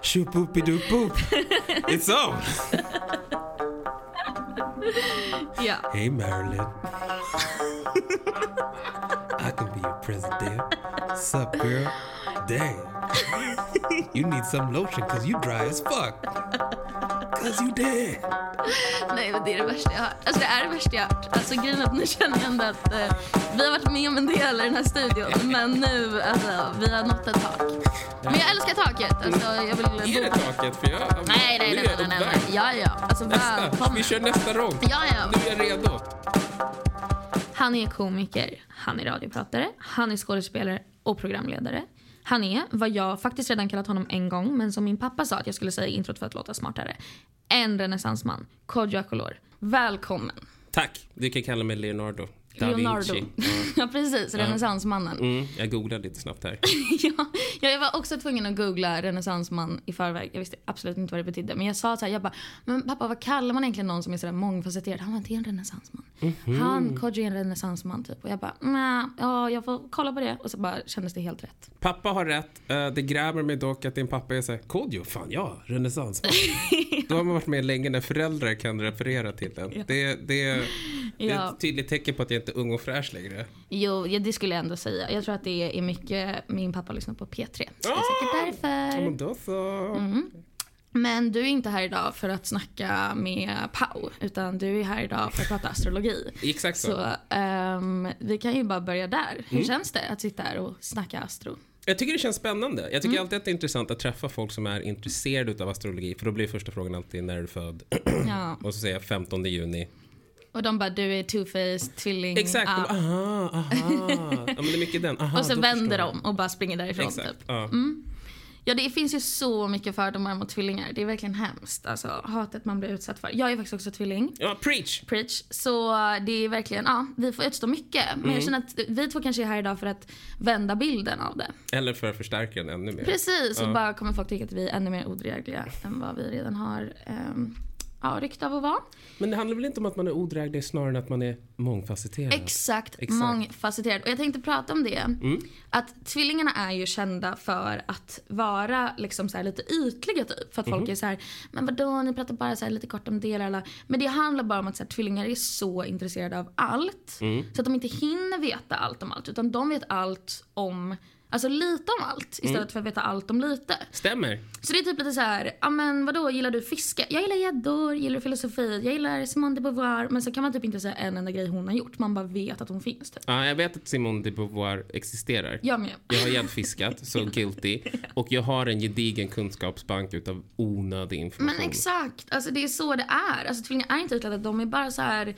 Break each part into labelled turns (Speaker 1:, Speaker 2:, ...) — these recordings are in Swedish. Speaker 1: Shoo-poopy-doo-poop. It's on!
Speaker 2: Ja.
Speaker 1: Hey Marilyn. I can be your president. Sup, girl? Damn. You need some lotion because you dry as fuck. Because you dead.
Speaker 2: Nej, men det är det värsta jag har hört. Alltså det är det värsta jag har hört. Alltså grejen är att nu känner jag ändå att eh, vi har varit med om en del i den här studion. Men nu, alltså vi har nått ett tak. Men jag älskar taket. Alltså jag vill bo
Speaker 3: Är det
Speaker 2: här.
Speaker 3: taket? För jag,
Speaker 2: Nej, nej,
Speaker 3: nu
Speaker 2: nej,
Speaker 3: är
Speaker 2: nej, nej,
Speaker 3: jag
Speaker 2: nej.
Speaker 3: uppvärmd.
Speaker 2: Ja, ja. Alltså
Speaker 3: Nästa.
Speaker 2: välkommen.
Speaker 3: Vi kör nästa rond.
Speaker 2: Ja, ja.
Speaker 3: Nu är jag redo.
Speaker 2: Han är komiker, han är radiopratare, han är skådespelare och programledare. Han är, vad jag faktiskt redan kallat honom en gång, men som min pappa sa att jag skulle säga i introt för att låta smartare. En renässansman, Kodjo Akolor. Välkommen.
Speaker 3: Tack. Du kan kalla mig Leonardo. Da
Speaker 2: Leonardo.
Speaker 3: Vinci.
Speaker 2: ja precis, renässansmannen.
Speaker 3: Mm, jag googlade lite snabbt här.
Speaker 2: ja, jag var också tvungen att googla renässansman i förväg. Jag visste absolut inte vad det betydde. Men jag sa så här, jag bara, men pappa vad kallar man egentligen någon som är sådär mångfacetterad? Han var inte en renässansman.
Speaker 3: Mhm.
Speaker 2: Han, Kodjo är en renässansman typ. Och jag bara, nej, ja jag får kolla på det. Och så bara kändes det helt rätt.
Speaker 3: Pappa har rätt. Eh, Det grämer mig dock att din pappa är såhär, Kodjo, fan ja, renässansman. Då har man varit med länge när föräldrar kan referera till den. Det, det, det är
Speaker 2: Ja.
Speaker 3: ett tydligt tecken på att jag inte är ung och fräsch längre.
Speaker 2: Jo, ja, det skulle jag ändå säga. Jag tror att det är mycket, min pappa lyssnar på P3. Så det är säkert
Speaker 3: Ja,
Speaker 2: därför.
Speaker 3: Men då så.
Speaker 2: Mm. Men du är inte här idag för att snacka med Pau. Utan du är här idag för att prata astrologi.
Speaker 3: Exakt så. Mm.
Speaker 2: Så ehm, vi kan ju bara börja där. Hur känns det att sitta här och snacka astro?
Speaker 3: Jag tycker det känns spännande. Jag
Speaker 2: Mm.
Speaker 3: tycker alltid att det är intressant att träffa folk som är intresserade av astrologi. För då blir första frågan alltid när är du född?
Speaker 2: Ja.
Speaker 3: Och så säger jag 15 juni.
Speaker 2: Mm, Och de bara, du är two-faced, tvilling.
Speaker 3: Exakt.
Speaker 2: ah.
Speaker 3: De bara, aha, aha. Ja, men det är mycket den. Aha,
Speaker 2: och så
Speaker 3: då
Speaker 2: vänder
Speaker 3: förstår jag.
Speaker 2: de och bara springer därifrån.
Speaker 3: Exakt.
Speaker 2: Typ.
Speaker 3: Ja.
Speaker 2: Ja, det finns ju så mycket fördomar mot tvillingar. Det är verkligen hemskt. Alltså, hatet man blir utsatt för. Jag är faktiskt också tvilling.
Speaker 3: ja, preach!
Speaker 2: Preach. Så det är verkligen, ja, vi får utstå mycket. Men
Speaker 3: Mm.
Speaker 2: jag känner att vi två kanske är här idag för att vända bilden av det.
Speaker 3: Eller för att förstärka den ännu mer.
Speaker 2: Precis, och bara kommer folk tycka att vi är ännu mer odrägliga än vad vi redan har ehm, ja, rykte av att vara.
Speaker 3: Men det handlar väl inte om att man är odräglig snarare än att man är mångfacetterad?
Speaker 2: Exakt,
Speaker 3: Exakt.
Speaker 2: mångfacetterad. Och jag tänkte prata om det. Att tvillingarna är ju kända för att vara liksom så här lite ytliga typ. För att folk är så här, men vadå ni pratar bara så här lite kort om det. Lala. Men det handlar bara om att så här, tvillingar är så intresserade av allt. Så att de inte hinner veta allt om allt. Utan de vet allt om, alltså lite om allt. Istället för att veta allt om lite.
Speaker 3: Stämmer.
Speaker 2: Så det är typ lite så här, ja men vadå gillar du fiske? Jag gillar gäddor, gillar du filosofi, jag gillar Simone de Beauvoir. Men så kan man typ inte säga en enda grej hon har gjort. Man bara vet att hon finns typ.
Speaker 3: Ja, jag vet att Simone de Beauvoir existerar.
Speaker 2: Jag med.
Speaker 3: Jag har gäddfiskat, så guilty. Och jag har en gedigen kunskapsbank utav onödig information.
Speaker 2: Men exakt, alltså det är så det är. Alltså tvillingar är inte utklädda, de är bara så här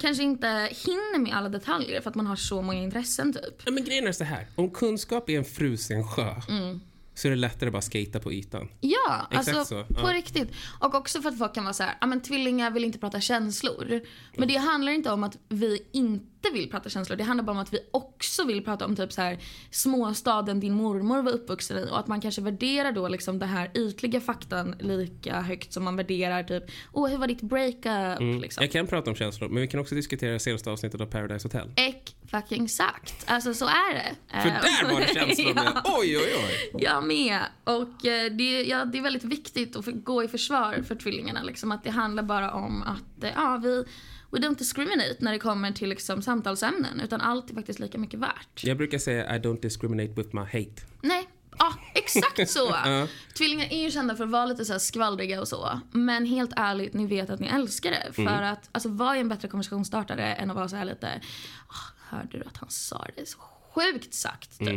Speaker 2: kanske inte hinner med alla detaljer för att man har så många intressen typ.
Speaker 3: Ja, men grejen är så här. Om kunskap är en frusen sjö
Speaker 2: Mm.
Speaker 3: så är det lättare att bara skata på ytan.
Speaker 2: Ja,
Speaker 3: Exakt
Speaker 2: alltså
Speaker 3: så,
Speaker 2: på
Speaker 3: ja.
Speaker 2: riktigt. Och också för att folk kan vara så här, ja men tvillingar vill inte prata känslor. Men det handlar inte om att vi inte vill prata känslor. Det handlar bara om att vi också vill prata om typ så här småstaden din mormor var uppvuxen i och att man kanske värderar då liksom den här ytliga faktan lika högt som man värderar typ, åh hur var ditt breakup liksom.
Speaker 3: Jag kan prata om känslor, men vi kan också diskutera det senaste avsnittet av Paradise Hotel.
Speaker 2: Eck fucking sagt. Alltså så är det.
Speaker 3: För
Speaker 2: Eh,
Speaker 3: där var det känslor med.
Speaker 2: ja,
Speaker 3: Oj, oj, oj.
Speaker 2: jag med. Och eh, det, ja, det är väldigt viktigt att få gå i försvar för tvillingarna. Liksom, att det handlar bara om att eh, ja, vi we don't discriminate när det kommer till liksom, samtalsämnen. Utan allt är faktiskt lika mycket värt.
Speaker 3: Jag brukar säga I don't discriminate with my hate.
Speaker 2: Nej, ja exakt så.
Speaker 3: Ja.
Speaker 2: Tvillingar är ju kända för att vara lite så här skvallriga och så. Men helt ärligt, ni vet att ni älskar det. För
Speaker 3: Mm.
Speaker 2: att alltså, vad är en bättre konversationsstartare än att vara så här lite, "Ah, hörde du att han sa det? Så sjukt sagt typ.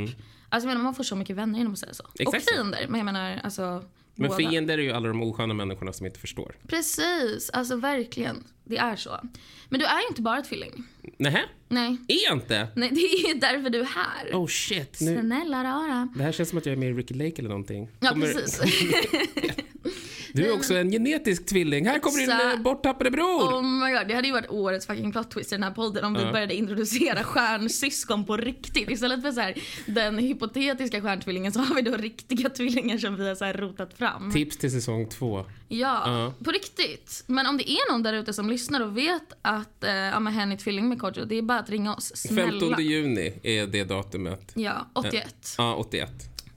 Speaker 2: Alltså jag menar, man får så mycket vänner genom att säga så.
Speaker 3: Mm. Exakt så.
Speaker 2: och fiender, men jag menar alltså
Speaker 3: Men
Speaker 2: båda.
Speaker 3: fiender är ju alla de osköna människorna som inte förstår.
Speaker 2: Precis, alltså verkligen. Det är så. Men du är ju inte bara tvilling.
Speaker 3: Nähä?
Speaker 2: Nej.
Speaker 3: Är jag inte?
Speaker 2: Nej, det är ju därför du är här.
Speaker 3: Oh shit. Nu,
Speaker 2: Snälla rara.
Speaker 3: det här känns som att jag är med i Ricky Lake eller någonting.
Speaker 2: Ja,
Speaker 3: Kommer-
Speaker 2: precis.
Speaker 3: Du är också en genetisk tvilling. Här kommer din
Speaker 2: Exakt.
Speaker 3: eh, borttappade bror.
Speaker 2: Oh my god, det hade ju varit årets fucking plot twist i den här podden om vi började introducera stjärnsyskon på riktigt. Istället för så här, den hypotetiska stjärntvillingen så har vi då riktiga tvillingar som vi har så här rotat fram.
Speaker 3: Tips till säsong två.
Speaker 2: Ja,
Speaker 3: Ja.
Speaker 2: på riktigt. Men om det är någon där ute som lyssnar och vet att eh, ja, men hen är tvilling med Kodjo, det är bara att ringa oss. Snälla.
Speaker 3: 15 juni är det datumet.
Speaker 2: Ja, 81.
Speaker 3: Ja, 81.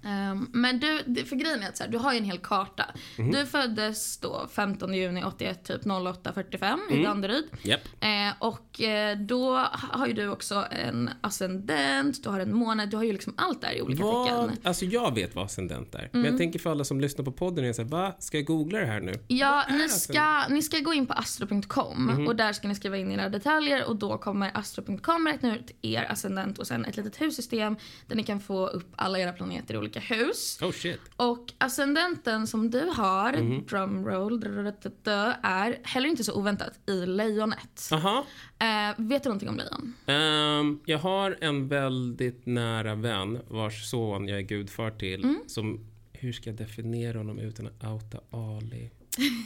Speaker 2: Ehm, men du, det- för grejen är att så här, du har ju en hel karta. Du föddes då 15 juni 81, typ 08.45 i Danderyd.
Speaker 3: Japp.
Speaker 2: Eh, och eh, då har ju du också en ascendent, du har en månad, du har ju liksom allt där i olika
Speaker 3: Vad,
Speaker 2: tecken. Mm.
Speaker 3: alltså jag vet vad ascendent är. Men jag tänker för alla som lyssnar på podden, är så här, va? Ska jag googla det här Mhm. nu?
Speaker 2: Ja, ni ska, ni ska gå in på astro.com och där ska ni skriva in era detaljer och då kommer astro.com räkna ut er ascendent och sen ett litet hussystem där ni kan få upp alla era planeter i olika hus.
Speaker 3: Oh shit.
Speaker 2: Och ascendenten som du har,
Speaker 3: Mhm.
Speaker 2: drumroll, drrrrrrrrrrrrrrrrrrrrr, är heller inte så oväntat i lejonet.
Speaker 3: Aha.
Speaker 2: Eh, vet du någonting om lejon?
Speaker 3: Ehm, jag har en väldigt nära vän vars son jag är gudfar till.
Speaker 2: Mm.
Speaker 3: Som, hur ska jag definiera honom utan att outa Ali?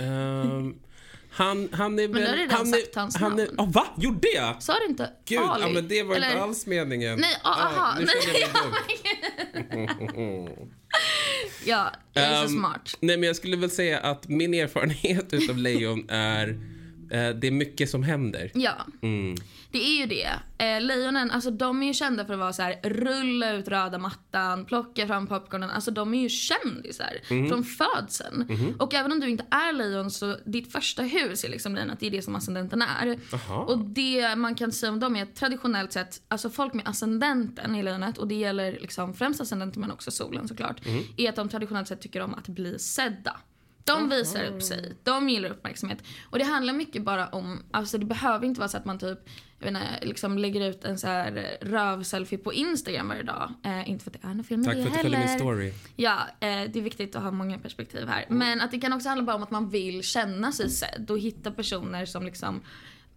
Speaker 3: Ehm, han, han är väl...
Speaker 2: nu har du redan
Speaker 3: han är,
Speaker 2: sagt hans
Speaker 3: han är,
Speaker 2: namn.
Speaker 3: oh, Va? Gjorde jag?
Speaker 2: Sa du inte
Speaker 3: Gud,
Speaker 2: Ali?
Speaker 3: ja, men det var inte
Speaker 2: Eller-
Speaker 3: alls meningen.
Speaker 2: Nej, ah, aha,
Speaker 3: nu
Speaker 2: nej.
Speaker 3: känner jag mig dum.
Speaker 2: Ja, jag är så
Speaker 3: Ehm,
Speaker 2: smart.
Speaker 3: Nej, men jag skulle väl säga att min erfarenhet utav lejon är... eh, det är mycket som händer.
Speaker 2: Ja,
Speaker 3: Mm.
Speaker 2: det är ju det. Eh, lejonen, alltså de är ju kända för att vara så här: rulla ut röda mattan, plocka fram popcornen. Alltså de är ju kändisar från födseln. Och även om du inte är lejon så ditt första hus är liksom lejonet, det är det som ascendenten är.
Speaker 3: Aha.
Speaker 2: Och det man kan säga om dem är att traditionellt sett, alltså folk med ascendenten i lejonet och det gäller liksom främst ascendenten men också solen såklart, är att de traditionellt sett tycker om att bli sedda. De
Speaker 3: Mm.
Speaker 2: visar upp sig, de gillar uppmärksamhet. Och det handlar mycket bara om, alltså det behöver inte vara så att man typ, jag vet inte, liksom lägger ut en så här eh, rövselfie på Instagram varje dag. Eh, inte för att det är något fel med
Speaker 3: Tack
Speaker 2: det
Speaker 3: för att du följde min
Speaker 2: heller.
Speaker 3: story. Mm.
Speaker 2: Ja, eh, det är viktigt att ha många perspektiv här. Men att det kan också handla bara om att man vill känna sig sedd och hitta personer som liksom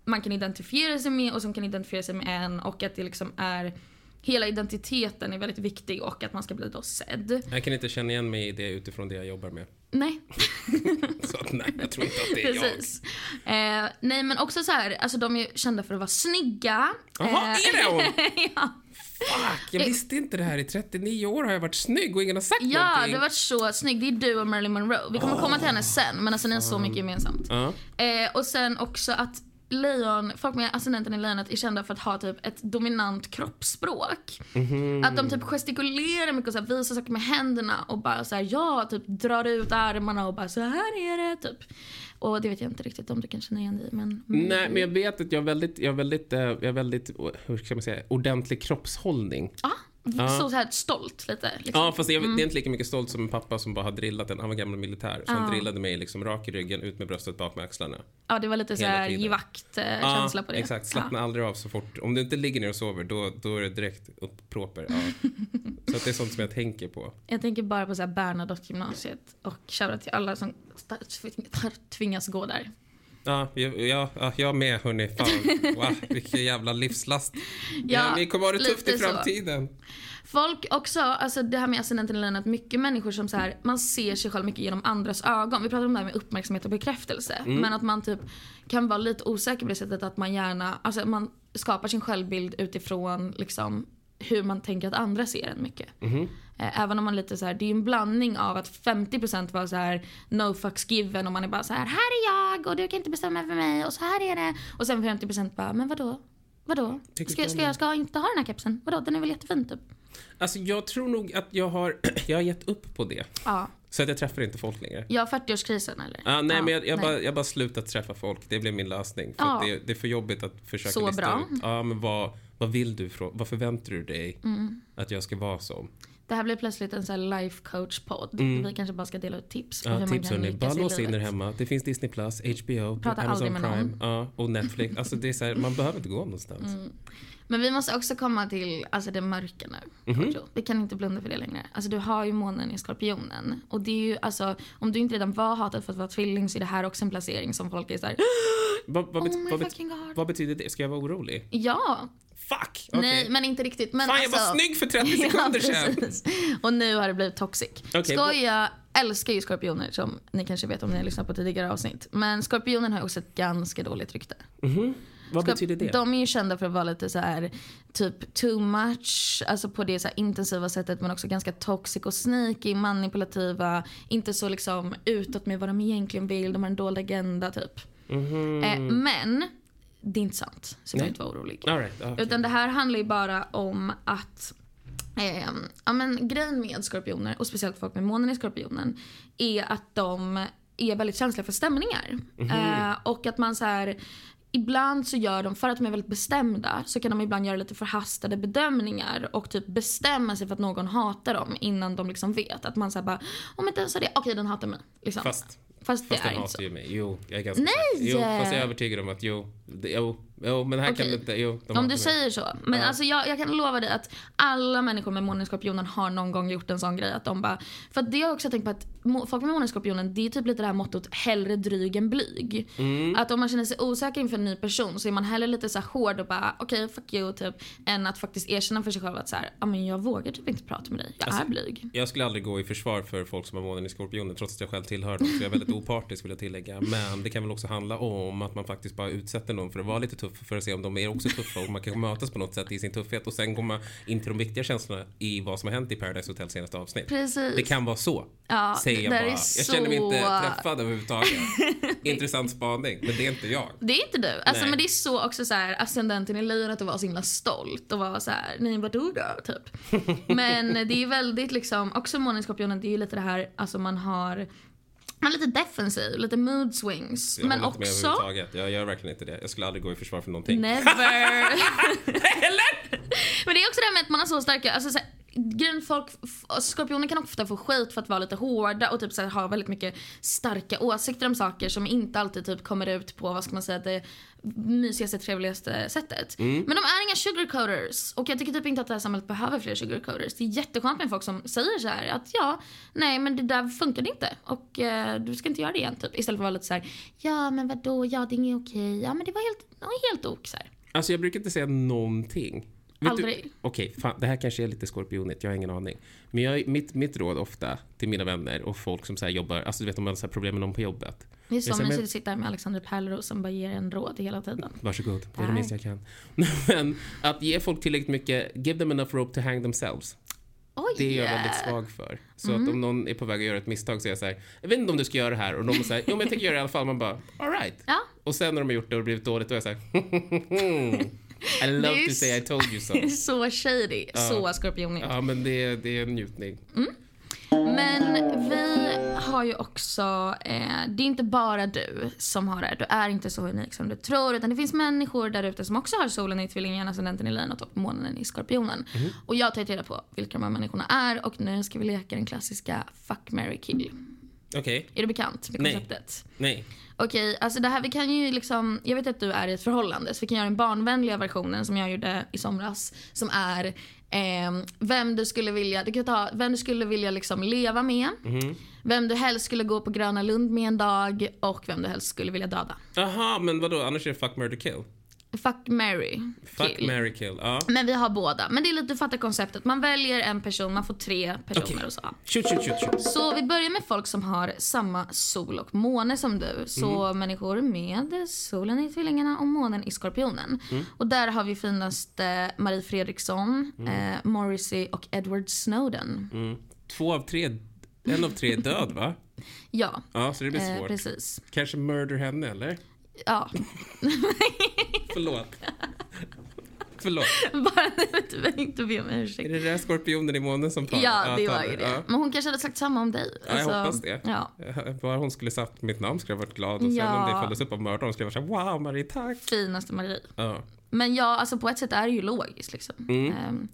Speaker 2: man kan identifiera sig med och som kan identifiera sig med en och att det liksom är Hela identiteten är väldigt viktig och att man ska bli då sedd.
Speaker 3: Jag kan inte känna igen mig i det utifrån det jag jobbar med.
Speaker 2: Nej,
Speaker 3: Så att, nej, jag tror inte att det är jag.
Speaker 2: precis. Eh, nej men också så här, alltså de är ju kända för att vara snygga.
Speaker 3: Jaha,
Speaker 2: Eh,
Speaker 3: är det hon?
Speaker 2: ja.
Speaker 3: Fuck,
Speaker 2: Eh.
Speaker 3: jag visste inte det här. I 39 år har jag varit snygg och ingen har sagt
Speaker 2: Ja,
Speaker 3: någonting. Ah.
Speaker 2: du har varit så snygg. Det är du och Marilyn Monroe. Vi kommer komma till henne sen, men alltså ni har så mycket gemensamt.
Speaker 3: Ja.
Speaker 2: Eh, och sen också att lejon, folk med ascendenten i lejonet är kända för att ha typ ett dominant kroppsspråk.
Speaker 3: Mhm.
Speaker 2: Att de typ gestikulerar mycket och så här visar saker med händerna och bara så här, ja, typ drar ut armarna och bara så här är det typ. Och det vet jag inte riktigt om du kan känna igen dig men...
Speaker 3: Nej, men jag vet att jag har väldigt, jag har väldigt, eh, jag har väldigt, eh, hur ska man säga, ordentlig kroppshållning.
Speaker 2: Ja, så, så här stolt lite. Liksom.
Speaker 3: Ja, fast jag, det är inte lika mycket stolt som en pappa som bara har drillat en. Han var gammal militär. Så han
Speaker 2: Ja.
Speaker 3: drillade mig liksom rak i ryggen, ut med bröstet, bak med axlarna.
Speaker 2: Ja, det var lite så
Speaker 3: Hela
Speaker 2: här
Speaker 3: tiden.
Speaker 2: givakt-känsla
Speaker 3: Ja,
Speaker 2: på det.
Speaker 3: Exakt, slappna aldrig av så fort. Om du inte ligger ner och sover, då, då är det direkt upp proper. Ja. så att det är sånt som jag tänker på.
Speaker 2: Jag tänker bara på så här Bernadotte-gymnasiet och shoutout till alla som tvingas gå där.
Speaker 3: Ja, jag, jag, ja, jag med hörni. Fan, wow, vilken jävla livslast. Ja, ni kommer ha det tufft i
Speaker 2: lite så.
Speaker 3: framtiden.
Speaker 2: Folk också, alltså det här med ascendenten i lejonet, mycket människor som så här, man ser sig själv mycket genom andras ögon. Vi pratade om det här med uppmärksamhet och bekräftelse.
Speaker 3: Mm.
Speaker 2: Men att man typ kan vara lite osäker på det sättet att man gärna, alltså man skapar sin självbild utifrån liksom hur man tänker att andra ser en mycket.
Speaker 3: Mm-hmm.
Speaker 2: Eh, Även om man lite så här, det är ju en blandning av att 50% var så här no fucks given och man är bara så här här är jag och du kan inte bestämma över mig och så här är det. Och sen 50% bara men vadå? Vadå?
Speaker 3: Tycker
Speaker 2: Ska,
Speaker 3: inte om
Speaker 2: ska jag ska jag inte ha den här kepsen? Vadå den är väl jättefin typ?
Speaker 3: Alltså, jag tror nog att jag har, jag har gett upp på det.
Speaker 2: Ja.
Speaker 3: Så att jag träffar inte folk längre.
Speaker 2: Ja, 40-årskrisen eller?
Speaker 3: Ah, nej, men jag, jag,
Speaker 2: nej.
Speaker 3: Bara, jag har bara slutat träffa folk. Det blev min lösning. För att
Speaker 2: Ja.
Speaker 3: det, det är för jobbigt att försöka
Speaker 2: Så
Speaker 3: lista
Speaker 2: bra.
Speaker 3: ut. Ja, men vad, vad vill du? Från, vad förväntar du dig
Speaker 2: Mm.
Speaker 3: att jag ska vara som?
Speaker 2: Det här blir plötsligt en sån här life coach podd. Vi kanske bara ska dela ut tips på
Speaker 3: Mm. Ja,
Speaker 2: hur man
Speaker 3: tips
Speaker 2: kan
Speaker 3: hörni. Bara
Speaker 2: lyckas i
Speaker 3: lås in er
Speaker 2: livet.
Speaker 3: hemma. Det finns Disney+, Plus, HBO,
Speaker 2: Prata
Speaker 3: Amazon
Speaker 2: aldrig med
Speaker 3: Prime ja, och Netflix. Alltså, det är så här, man behöver inte gå någonstans.
Speaker 2: Mm. Men vi måste också komma till alltså, det mörka nu.
Speaker 3: Mhm.
Speaker 2: Kodjo. Vi kan inte blunda för det längre. Alltså, du har ju månen i skorpionen. Och det är ju, alltså, om du inte redan var hatad för att vara tvilling så är det här också en placering som folk är såhär
Speaker 3: Vad, vad, bet-
Speaker 2: Oh my
Speaker 3: vad, bet-
Speaker 2: fucking god.
Speaker 3: vad betyder det? Ska jag vara orolig?
Speaker 2: Ja,
Speaker 3: Fuck! okej.
Speaker 2: nej men inte riktigt. Men
Speaker 3: Fan, jag
Speaker 2: alltså,
Speaker 3: var snygg för 30 sekunder sedan!
Speaker 2: precis. Och nu har det blivit toxic.
Speaker 3: Okej,
Speaker 2: Skoj, jag älskar ju skorpioner som ni kanske vet om ni har lyssnat på tidigare avsnitt. Men skorpionen har ju också ett ganska dåligt rykte.
Speaker 3: Vad
Speaker 2: Ska-
Speaker 3: betyder det?
Speaker 2: De är ju kända för att vara lite så här typ too much, alltså på det så här intensiva sättet men också ganska toxic och sneaky, manipulativa, inte så liksom utåt med vad de egentligen vill, de har en dold agenda typ.
Speaker 3: Mhm.
Speaker 2: Eh,
Speaker 3: Mm.
Speaker 2: men det är inte sant, så du behöver inte vara orolig.
Speaker 3: All right, okay.
Speaker 2: Utan det här handlar ju bara om att Ehm, ja, men grejen med skorpioner, och speciellt folk med månen i skorpionen, är att de är väldigt känsliga för stämningar.
Speaker 3: Mhm.
Speaker 2: Eh, och att man så här, ibland så gör de, för att de är väldigt bestämda, så kan de ibland göra lite förhastade bedömningar och typ bestämma sig för att någon hatar dem innan de liksom vet. Att man säger bara, om inte den sa det, okej den hatar mig. Liksom.
Speaker 3: Fast-
Speaker 2: Fast det
Speaker 3: Fast
Speaker 2: är
Speaker 3: den
Speaker 2: inte så.
Speaker 3: hatar ju mig. Jo, jag är ganska
Speaker 2: Nej!
Speaker 3: säker. Jo, fast jag är övertygad om att jo, det, jo, jo men det här kan
Speaker 2: Okej.
Speaker 3: du inte. Jo, de hatar
Speaker 2: Om
Speaker 3: mig.
Speaker 2: du säger så. Men alltså jag, jag kan lova dig att alla människor med månen i skorpionen har någon gång gjort en sån grej. Att de bara, för att det har jag också tänkt på att må- folk med månen i skorpionen det är typ lite det här mottot hellre dryg än blyg.
Speaker 3: Mm.
Speaker 2: Att om man känner sig osäker inför en ny person så är man hellre lite så här hård och bara okej fuck you typ. Än att faktiskt erkänna för sig själv att så här, "Ja, men jag vågar typ inte prata med dig. Jag
Speaker 3: Alltså,
Speaker 2: är blyg.
Speaker 3: Jag skulle aldrig gå i försvar för folk som har månen i Skorpionen trots att jag själv tillhör dem. Så jag är väldigt opartisk vill jag tillägga. Men det kan väl också handla om att man faktiskt bara utsätter någon för att vara lite tuff för att se om de är också tuffa och man kan mötas på något sätt i sin tuffhet och sen komma in till de viktiga känslorna i vad som har hänt i Paradise Hotel senaste avsnitt.
Speaker 2: Precis.
Speaker 3: Det kan vara så.
Speaker 2: Ja,
Speaker 3: säger jag
Speaker 2: det där
Speaker 3: bara.
Speaker 2: är
Speaker 3: Jag känner mig inte
Speaker 2: så-
Speaker 3: träffad överhuvudtaget. Intressant spaning, men det är inte jag.
Speaker 2: Det är inte du. Alltså,
Speaker 3: Nej.
Speaker 2: men det är så också så här, ascendenten i lejonet att vara så himla stolt och vara så här, nej vadå då? Typ. Men det är ju väldigt liksom, också månen i skorpionen det är ju lite det här, alltså man har man är lite defensiv, lite mood swings.
Speaker 3: Jag
Speaker 2: men
Speaker 3: håller inte med
Speaker 2: också,
Speaker 3: överhuvudtaget. Jag gör verkligen inte det. Jag skulle aldrig gå i försvar för någonting.
Speaker 2: never.
Speaker 3: Eller?
Speaker 2: Men det är också det här med att man har så starka, alltså så här, grejen folk, f- alltså skorpioner kan ofta få skit för att vara lite hårda och typ så här, ha väldigt mycket starka åsikter om saker som inte alltid typ kommer ut på, vad ska man säga, det mysigaste, trevligaste sättet. Men de är inga sugarcoaters och jag tycker typ inte att det här samhället behöver fler sugarcoaters. Det är jätteskönt med folk som säger så här att ja, nej men det där funkade inte och eh, du ska inte göra det igen typ. Istället för att vara lite så här, ja men vadå, ja det är inget okej, ja men det var helt, det var helt ok så här.
Speaker 3: Alltså jag brukar inte säga någonting. Vet
Speaker 2: Aldrig.
Speaker 3: Du, okej, fan, det här kanske är lite skorpionigt, jag har ingen aning. Men jag, mitt, mitt råd ofta till mina vänner och folk som så här jobbar, alltså du vet om man har så här problem med någon på jobbet.
Speaker 2: Det är så
Speaker 3: Jag säger, men-
Speaker 2: mysigt att sitta här med Alexander Pärleros som bara ger en råd hela tiden.
Speaker 3: Varsågod, det är det
Speaker 2: Tack.
Speaker 3: minsta jag kan. Men att ge folk tillräckligt mycket, give them enough rope to hang themselves.
Speaker 2: Oj!
Speaker 3: Det är jag väldigt svag för. Så att om någon är på väg att göra ett misstag så är jag så här, jag vet inte om du ska göra det här. Och de säger, jo men jag tänker göra det i alla fall. Man bara, alright.
Speaker 2: Ja.
Speaker 3: Och sen när de har gjort det och det blivit dåligt, då är jag så här, hmm. I love to
Speaker 2: är
Speaker 3: say I told you so.
Speaker 2: Det är så shady, så skorpionigt.
Speaker 3: Ja, men det, det är en njutning.
Speaker 2: Men vi har ju också, eh, det är inte bara du som har det här. Du är inte så unik som du tror. Utan det finns människor där ute som också har solen i tvillingen, ascendenten i lejonet och månen i skorpionen.
Speaker 3: Mhm.
Speaker 2: Och jag har tagit reda på vilka de här människorna är och nu ska vi leka den klassiska fuck, marry, kill.
Speaker 3: Okej.
Speaker 2: Är du bekant med
Speaker 3: Nej.
Speaker 2: konceptet?
Speaker 3: Nej.
Speaker 2: Okej, alltså det här vi kan ju liksom, jag vet att du är i ett förhållande så vi kan göra den barnvänliga versionen som jag gjorde i somras som är ehm, vem du skulle vilja, du kan ta vem du skulle vilja liksom leva med,
Speaker 3: Mhm.
Speaker 2: vem du helst skulle gå på Gröna Lund med en dag och vem du helst skulle vilja döda.
Speaker 3: Aha, men vadå? Annars är det fuck, murder, kill?
Speaker 2: Fuck, marry,
Speaker 3: Fuck,
Speaker 2: kill. Mm.
Speaker 3: marry, kill. Ja.
Speaker 2: Men vi har båda. Men det är lite, du fattar konceptet. Man väljer en person, man får tre personer
Speaker 3: Okej.
Speaker 2: och så.
Speaker 3: Shoot, shoot, shoot, shoot.
Speaker 2: Så vi börjar med folk som har samma sol och måne som du. Så
Speaker 3: Mhm.
Speaker 2: människor med solen i tvillingarna och månen i skorpionen.
Speaker 3: Mm.
Speaker 2: Och där har vi finaste Marie Fredriksson,
Speaker 3: Mm.
Speaker 2: eh, Morrissey och Edward Snowden.
Speaker 3: Två av tre, en av tre är död va?
Speaker 2: Ja,
Speaker 3: Ja, så det blir
Speaker 2: eh,
Speaker 3: svårt.
Speaker 2: precis.
Speaker 3: Kanske murder henne eller?
Speaker 2: Ja,
Speaker 3: Förlåt. Förlåt.
Speaker 2: bara du behöver inte be om
Speaker 3: Är
Speaker 2: ursäkt.
Speaker 3: det där skorpionen i månen som talar?
Speaker 2: Ja, det var
Speaker 3: talar.
Speaker 2: ju det.
Speaker 3: Ja.
Speaker 2: Men hon kanske hade sagt samma om dig. Alltså,
Speaker 3: Ja, jag hoppas det.
Speaker 2: Ja.
Speaker 3: Bara hon skulle satt mitt namn skulle jag varit glad och sen
Speaker 2: Ja.
Speaker 3: om det följdes upp av mördaren skulle jag varit såhär wow Marie tack.
Speaker 2: Finaste Marie.
Speaker 3: Ja.
Speaker 2: Men ja, alltså på ett sätt är det ju logiskt liksom.
Speaker 3: Mm.
Speaker 2: Ehm,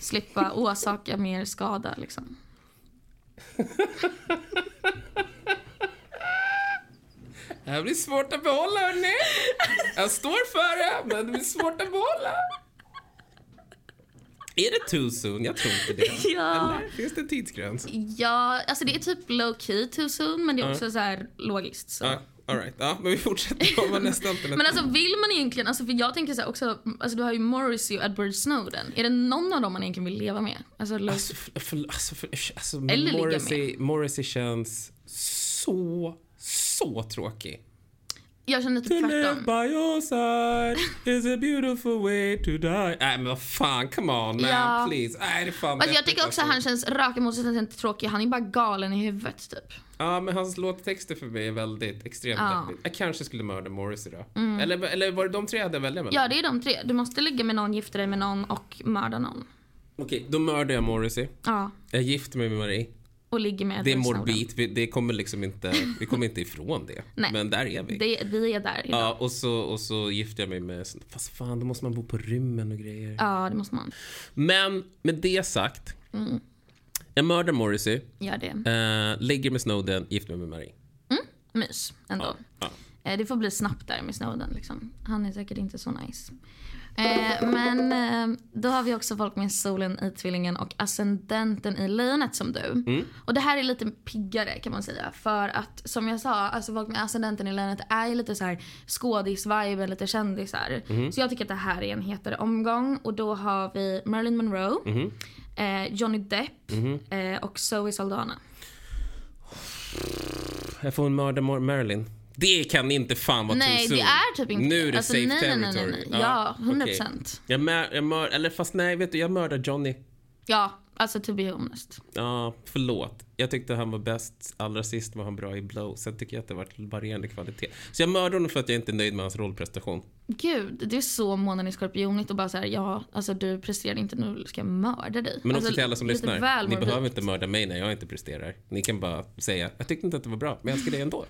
Speaker 2: slippa orsaka mer skada liksom.
Speaker 3: Det här blir svårt att behålla hörni. Jag står för det, men det blir svårt att behålla. Är det too soon? Jag tror inte det.
Speaker 2: Ja.
Speaker 3: Eller finns det en tidsgräns?
Speaker 2: Ja, alltså det är typ low key too soon men det är också så här logiskt. Så.
Speaker 3: Ja, all right. Ja, men vi fortsätter på vad nästa alternativ.
Speaker 2: Men alltså vill man egentligen, alltså för jag tänker så här också, alltså du har ju Morrissey och Edward Snowden. Är det någon av dem man egentligen vill leva med? Alltså, low-
Speaker 3: Alltså, för, för, alltså, för, alltså,
Speaker 2: Eller ligga
Speaker 3: Morrissey, Morrissey känns så, så tråkig.
Speaker 2: jag känner typ
Speaker 3: To live
Speaker 2: tvärtom.
Speaker 3: by your side is a beautiful way to die. Nej men vad fan, come on man,
Speaker 2: Ja.
Speaker 3: please. Nej, det är fan
Speaker 2: Alltså, jag
Speaker 3: deppigt,
Speaker 2: tycker också att
Speaker 3: alltså.
Speaker 2: han känns raka motsatsen till tråkig, han är bara galen i huvudet typ.
Speaker 3: Ja, men hans låttexter för mig är väldigt extremt
Speaker 2: Ja. Mm.
Speaker 3: deppigt. Jag kanske skulle mörda Morrissey då. Eller, eller var det de tre jag hade att välja mellan?
Speaker 2: Ja det är de tre, du måste ligga med någon, gifta dig med någon och mörda någon.
Speaker 3: Okej, då mördar jag Morrissey.
Speaker 2: Ja,
Speaker 3: Jag gifter mig med Marie.
Speaker 2: och ligger med
Speaker 3: Det är
Speaker 2: Edward Snowden.
Speaker 3: morbid. Vi, det kommer liksom inte, vi kommer inte ifrån det.
Speaker 2: Nej.
Speaker 3: Men där är vi.
Speaker 2: Det, vi är där idag. Ja.
Speaker 3: Ja, och så, och så gifter jag mig med... Fast fan, då måste man bo på rymmen och grejer.
Speaker 2: det måste man.
Speaker 3: Men med det sagt.
Speaker 2: Mm.
Speaker 3: Jag mördar Morrissey,
Speaker 2: Gör det.
Speaker 3: eh, ligger med Snowden, gifter mig med Marie.
Speaker 2: Mys ändå.
Speaker 3: Ja.
Speaker 2: Eh, Det får bli snabbt där med Snowden. Liksom. Han är säkert inte så nice. Eh, men eh, då har vi också folk med solen i tvillingen och ascendenten i lejonet som du.
Speaker 3: Mm.
Speaker 2: Och det här är lite piggare kan man säga. För att som jag sa, alltså folk med ascendenten i lejonet är ju lite så här skådis-viben, lite kändisar.
Speaker 3: Mm.
Speaker 2: Så jag tycker att det här är en hetare omgång. Och då har vi Marilyn Monroe,
Speaker 3: Mm.
Speaker 2: eh, Johnny Depp eh, och Zoe Saldana.
Speaker 3: Jag får en mörda Mar- Marilyn. Det kan inte fan vara
Speaker 2: Nej,
Speaker 3: too soon.
Speaker 2: det är typ inte
Speaker 3: Nu
Speaker 2: det.
Speaker 3: är det
Speaker 2: Alltså,
Speaker 3: safe
Speaker 2: nej, nej, nej,
Speaker 3: territory.
Speaker 2: nej, nej. Ja, 100%.
Speaker 3: okej. Jag, mör, jag mör, eller fast nej, vet du, jag mördar Johnny.
Speaker 2: Ja, alltså to be honest.
Speaker 3: Ja, förlåt. Jag tyckte han var bäst. Allra sist var han bra i Blow. Sen tycker jag att det har varit varierande kvalitet. Så jag mördar honom för att jag inte är nöjd med hans rollprestation.
Speaker 2: Gud, det är så månaden i skorpionigt och bara så här, ja, alltså du presterade inte nu, ska jag mörda dig.
Speaker 3: Men
Speaker 2: alltså,
Speaker 3: också till alla som
Speaker 2: lite
Speaker 3: lyssnar.
Speaker 2: väl
Speaker 3: Ni
Speaker 2: morbid.
Speaker 3: behöver inte mörda mig när jag inte presterar. Ni kan bara säga, jag tyckte inte att det var bra, men jag älskar dig ändå.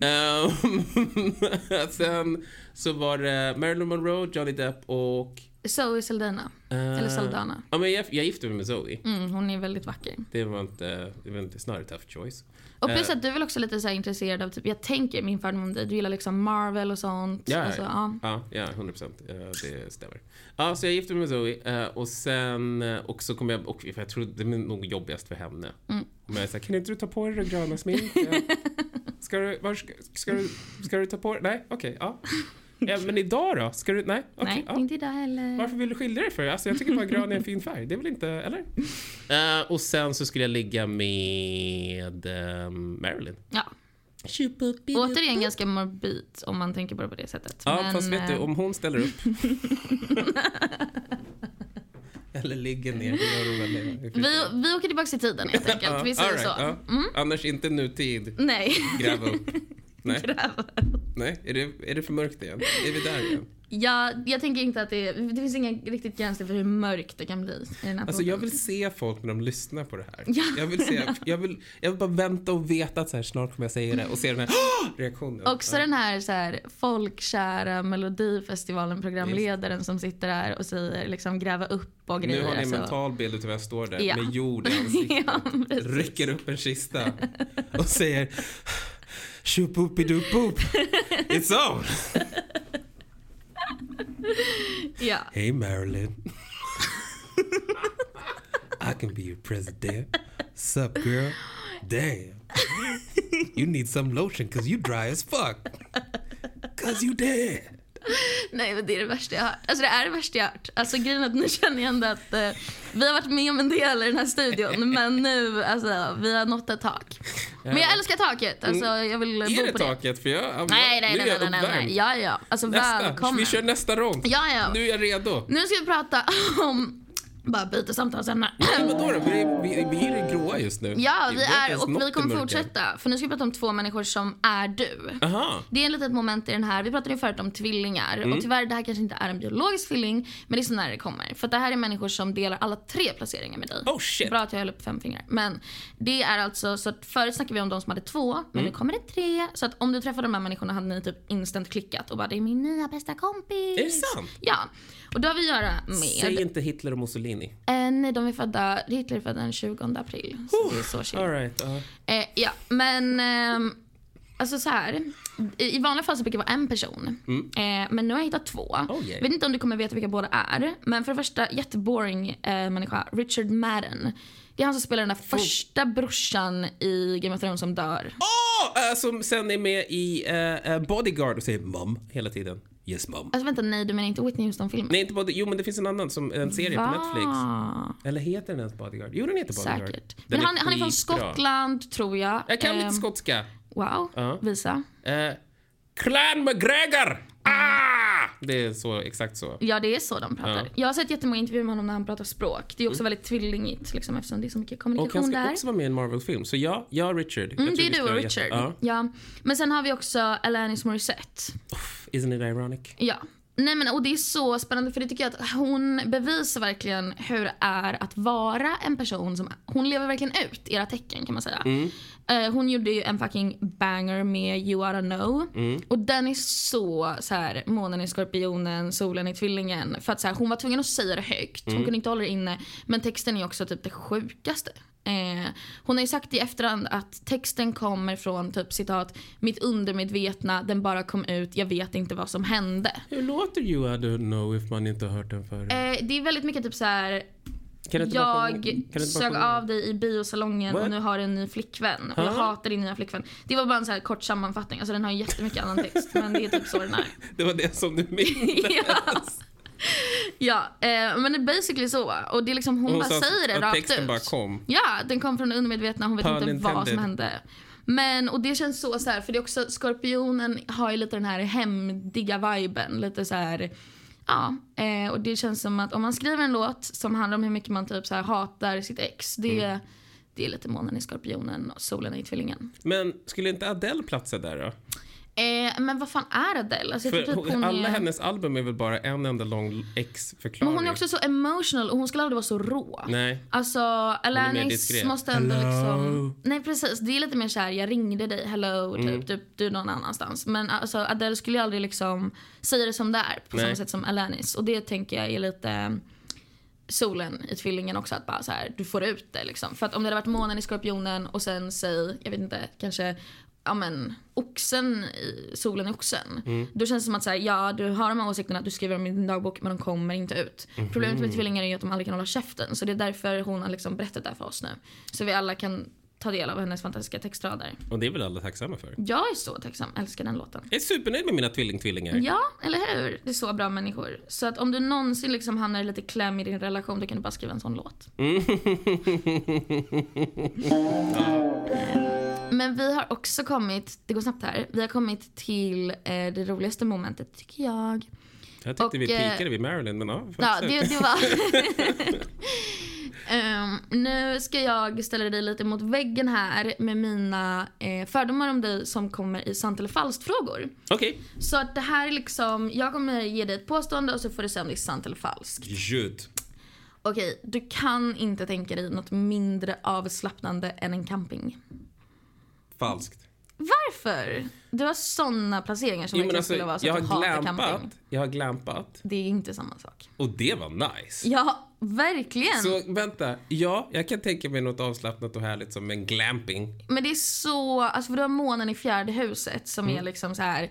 Speaker 3: Ehm, sen så var det Marilyn Monroe, Johnny Depp och...
Speaker 2: Zoe Saldana.
Speaker 3: eh,
Speaker 2: Eller Saldana.
Speaker 3: Ja, men jag, jag gifte mig med Zoe.
Speaker 2: Mm, hon är väldigt vacker.
Speaker 3: Det var inte, det var inte snarare tough choice.
Speaker 2: Och plus
Speaker 3: Eh.
Speaker 2: att du är väl också lite så här intresserad av, typ, jag tänker min fördom om dig, du gillar liksom Marvel och sånt.
Speaker 3: Ja,
Speaker 2: alltså,
Speaker 3: ja,
Speaker 2: ja.
Speaker 3: ja, ja, 100 procent. Eh, Det stämmer. Ja, så jag gifte mig med Zoe eh, och sen eh, och så kom jag och för jag tror det är nog jobbigast för henne.
Speaker 2: Mm.
Speaker 3: Men jag sa, kan inte du ta på dig det gröna sminket? ska du, var, ska, ska du, ska du ta på dig? Nej, okej, ja. ja. Men idag då? Ska du, nej, okej.
Speaker 2: Nej,
Speaker 3: ja.
Speaker 2: inte idag heller.
Speaker 3: Varför vill du skilja dig för? Alltså jag tycker bara grön är en fin färg. Det är väl inte, eller? Eh, och sen så skulle jag ligga med eh, Marilyn.
Speaker 2: Ja. Återigen ganska morbid om man tänker på det på det sättet.
Speaker 3: Ja, fast vet du,
Speaker 2: eh,
Speaker 3: om hon ställer upp... Eller ligger ner, det gör hon väl i- i
Speaker 2: vi,
Speaker 3: fritiden.
Speaker 2: vi åker tillbaka i tiden helt enkelt,
Speaker 3: Ja,
Speaker 2: vi säger
Speaker 3: all right,
Speaker 2: så. Mm.
Speaker 3: ja. Annars inte nutid.
Speaker 2: Nej.
Speaker 3: Gräva upp. Nej,
Speaker 2: Gräv.
Speaker 3: nej. Är, det, är det för mörkt igen? Är vi där igen?
Speaker 2: Ja, jag tänker inte att det är, Det finns inga riktigt gränser för hur mörkt det kan bli i den här
Speaker 3: Alltså jag
Speaker 2: podden.
Speaker 3: vill se folk när de lyssnar på det här.
Speaker 2: Ja.
Speaker 3: Jag, vill se, jag, vill, jag vill bara vänta och veta att så här, snart kommer jag säga det och se den här "Åh!" reaktionen.
Speaker 2: Också den här, så här folkkära Melodifestivalen-programledaren som sitter där och säger liksom gräva upp och
Speaker 3: Nu
Speaker 2: grejer.
Speaker 3: har ni en
Speaker 2: alltså.
Speaker 3: mental bild utav hur jag står där
Speaker 2: Ja.
Speaker 3: med jord i ansiktet.
Speaker 2: Ja, precis.
Speaker 3: rycker upp en kista och säger Tjoppoppidoppop, it's on!
Speaker 2: Ja.
Speaker 1: Hey, Marilyn. I can be your president. Sup, girl? Damn. You need some lotion because you dry as fuck. Because you dead.
Speaker 2: Nej men det är det värsta jag har hört. Alltså det är det värsta jag har hört. Alltså grejen är att nu känner jag ändå att eh, vi har varit med om en del i den här studion men nu, alltså vi har nått ett tak. Men jag älskar taket. Alltså jag vill bo
Speaker 3: Mm. Är det
Speaker 2: på
Speaker 3: taket? För jag, ja,
Speaker 2: Nej, nej, nej,
Speaker 3: nu är jag
Speaker 2: nej, nej,
Speaker 3: uppvärmd.
Speaker 2: nej. Ja, ja. Alltså
Speaker 3: Nästa,
Speaker 2: välkommen.
Speaker 3: vi kör nästa rond.
Speaker 2: Ja, ja.
Speaker 3: Nu är jag redo.
Speaker 2: Nu ska vi prata om... Bara byta samtalsämne.
Speaker 3: Men vadå då? Vi, är- vi, vi är i det gråa just nu.
Speaker 2: Ja, vi
Speaker 3: har inte
Speaker 2: är
Speaker 3: ens
Speaker 2: och
Speaker 3: nått
Speaker 2: vi
Speaker 3: det
Speaker 2: kommer
Speaker 3: mörka.
Speaker 2: fortsätta. För nu ska vi prata om två människor som är du.
Speaker 3: Aha.
Speaker 2: Det är ett litet moment i den här. Vi pratade ju förut om tvillingar.
Speaker 3: Mm.
Speaker 2: Och tyvärr, det här kanske inte är en biologisk tvilling. Men det är så nära det kommer. För att det här är människor som delar alla tre placeringar med dig.
Speaker 3: Oh, shit.
Speaker 2: Bra att jag höll upp fem fingrar. Men det är alltså, så att förut snackade vi om de som hade två. Men
Speaker 3: Mm.
Speaker 2: nu kommer det tre. Så att om du träffar de här människorna hade ni typ instant klickat. Och bara, det är min nya bästa kompis.
Speaker 3: Är det sant?
Speaker 2: Ja. Och då har vi att göra med...
Speaker 3: Säg inte Hitler och Mussolini.
Speaker 2: Eh, nej, de är födda, Hitler är född den 20 april. Så det är så chill.
Speaker 3: All right, ja.
Speaker 2: Eh, ja, men ehm, alltså så här. I i vanliga fall så brukar det vara en person. Eh, men nu har jag hittat två.
Speaker 3: Mm. Oh, yeah.
Speaker 2: Vet inte om du kommer veta vilka båda är. Men för det första, jätteboring eh, människa. Richard Madden. Det är han som spelar den där
Speaker 3: Oh.
Speaker 2: första brorsan i Game of Thrones som dör.
Speaker 3: Åh! eh, som sen är med i eh, eh, Bodyguard och säger mum hela tiden.
Speaker 1: Yes, mom.
Speaker 2: Alltså vänta, nej du menar inte Whitney Houston-filmen?
Speaker 3: Nej, inte Body... Jo, men det finns en annan, som en serie på Netflix. Eller heter den ens Bodyguard? Jo, den heter Bodyguard.
Speaker 2: Säkert.
Speaker 3: Den
Speaker 2: Men han, han är från
Speaker 3: skitbra.
Speaker 2: Skottland, tror jag.
Speaker 3: Jag kan
Speaker 2: Ehm,
Speaker 3: lite skotska.
Speaker 2: Wow,
Speaker 3: Ja.
Speaker 2: visa.
Speaker 3: Eh, Clan McGregor! Ah! Det är så, exakt så.
Speaker 2: Ja, det är så de pratar.
Speaker 3: Ja. Mm.
Speaker 2: Jag har sett jättemånga intervjuer med honom när han pratar språk. Det är också väldigt tvillingigt liksom, eftersom det är så mycket
Speaker 3: Och han
Speaker 2: kommunikation
Speaker 3: ska
Speaker 2: där.
Speaker 3: också vara med i en Marvel-film. Så ja, jag och Richard. Jag
Speaker 2: Mm,
Speaker 3: tror
Speaker 2: det är
Speaker 3: vi
Speaker 2: du
Speaker 3: skulle
Speaker 2: och
Speaker 3: ha jätte-
Speaker 2: Richard.
Speaker 3: Ja.
Speaker 2: Ja. Men sen har vi också Alanis Morissette.
Speaker 3: Uff, Isn't it ironic?
Speaker 2: Ja. Nej men och det är så spännande för det tycker jag att hon bevisar verkligen hur det är att vara en person som, hon lever verkligen ut era tecken kan man säga. Eh, hon gjorde ju en fucking banger med You Oughta Know och den är så, så här, månen i skorpionen, solen i tvillingen. För att så här, hon var tvungen att säga det högt, hon kunde inte hålla det inne. Men texten är också typ det sjukaste. Eh, hon har ju sagt i efterhand att texten kommer från typ citat mitt undermedvetna, den bara kom ut, jag vet inte vad som hände.
Speaker 3: Hur låter You I don't know if man inte har hört den förut?
Speaker 2: Eh, det är väldigt mycket typ så här.
Speaker 3: Kan du inte bara sjunga-
Speaker 2: Jag
Speaker 3: kan du inte bara
Speaker 2: sög
Speaker 3: sjunga?
Speaker 2: av dig i biosalongen
Speaker 3: What?
Speaker 2: och nu har du en ny flickvän. Och jag
Speaker 3: Ah.
Speaker 2: hatar din nya flickvän. Det var bara en så här kort sammanfattning. Alltså den har jättemycket annan text men det är typ så den är.
Speaker 3: Det var det som du minns.
Speaker 2: ja, ja eh, men det är basically så. Och det är liksom, hon,
Speaker 3: Hon
Speaker 2: bara
Speaker 3: sa att-
Speaker 2: säger det
Speaker 3: att
Speaker 2: rakt
Speaker 3: texten
Speaker 2: ut.
Speaker 3: bara kom.
Speaker 2: Ja, den kom från det undermedvetna. Hon vet
Speaker 3: Pun
Speaker 2: inte vad som
Speaker 3: intended.
Speaker 2: hände. Men, och det känns så så här, för det är också, skorpionen har ju lite den här hämndiga viben. Lite så här, ja. Eh, och det känns som att om man skriver en låt som handlar om hur mycket man typ så här hatar sitt ex. Det,
Speaker 3: Mm.
Speaker 2: det är lite månen i skorpionen och solen i tvillingen.
Speaker 3: Men skulle inte Adele platsa där då?
Speaker 2: Eh, men vad fan är Adele? Alltså, jag
Speaker 3: För
Speaker 2: tror typ hon
Speaker 3: hon, alla
Speaker 2: är...
Speaker 3: hennes album är väl bara en enda lång
Speaker 2: Men
Speaker 3: X-förklaring?
Speaker 2: hon är också så emotional och hon skulle aldrig vara så rå.
Speaker 3: Nej.
Speaker 2: Alltså Alanis
Speaker 3: diskret.
Speaker 2: måste ändå
Speaker 1: Hello.
Speaker 2: liksom... Nej precis, det är lite mer såhär jag ringde dig, hello, typ,
Speaker 3: Mm.
Speaker 2: typ du är någon annanstans. Men alltså Adele skulle ju aldrig liksom säga det som det är på
Speaker 3: Nej.
Speaker 2: samma sätt som Alanis. Och det tänker jag är lite solen i tvillingen också att bara så här, du får ut det liksom. För att om det hade varit månen i skorpionen och sen säg, jag vet inte, kanske Ja men oxen i solen i oxen. Då känns det som att så här, ja du har de här åsikterna, du skriver dem i din dagbok men de kommer inte ut. Problemet med tvillingar är ju att de aldrig kan hålla käften. Så det är därför hon har liksom berättat det här för oss nu. Så vi alla kan ta del av hennes fantastiska textrader.
Speaker 3: Och det är väl alla tacksamma för?
Speaker 2: Jag är så tacksam, älskar den låten.
Speaker 3: Jag är supernöjd med mina tvillingtvillingar.
Speaker 2: Ja, eller hur? Det är så bra människor. Så att om du någonsin liksom hamnar i lite kläm i din relation då kan du bara skriva en sån låt. Men vi har också kommit, det går snabbt här, vi har kommit till eh, det roligaste momentet tycker jag.
Speaker 3: Jag tyckte
Speaker 2: Och,
Speaker 3: vi
Speaker 2: eh,
Speaker 3: pikade vid Marilyn, men ja.
Speaker 2: Ja,
Speaker 3: fortsätt.
Speaker 2: det, det var... Ehm, nu ska jag ställa dig lite mot väggen här med mina eh, fördomar om dig som kommer i sant eller falskt frågor.
Speaker 3: Okej.
Speaker 2: Så att det här är liksom, jag kommer ge dig ett påstående och så får du säga om det är sant eller falskt.
Speaker 3: Ljud.
Speaker 2: Okej, du kan inte tänka dig något mindre avslappnande än en camping.
Speaker 3: Falskt.
Speaker 2: Varför? Du har såna placeringar som
Speaker 3: Jo, men
Speaker 2: verkligen
Speaker 3: alltså,
Speaker 2: skulle vara så
Speaker 3: jag,
Speaker 2: att du
Speaker 3: har
Speaker 2: hatar
Speaker 3: glampat,
Speaker 2: camping.
Speaker 3: jag har glampat
Speaker 2: Det är inte samma sak.
Speaker 3: och det var nice.
Speaker 2: Ja, verkligen.
Speaker 3: Så vänta, ja, jag kan tänka mig något avslappnat och härligt som en glamping.
Speaker 2: Men det är så, alltså för du har månen i fjärde huset som
Speaker 3: Mm.
Speaker 2: är liksom så här,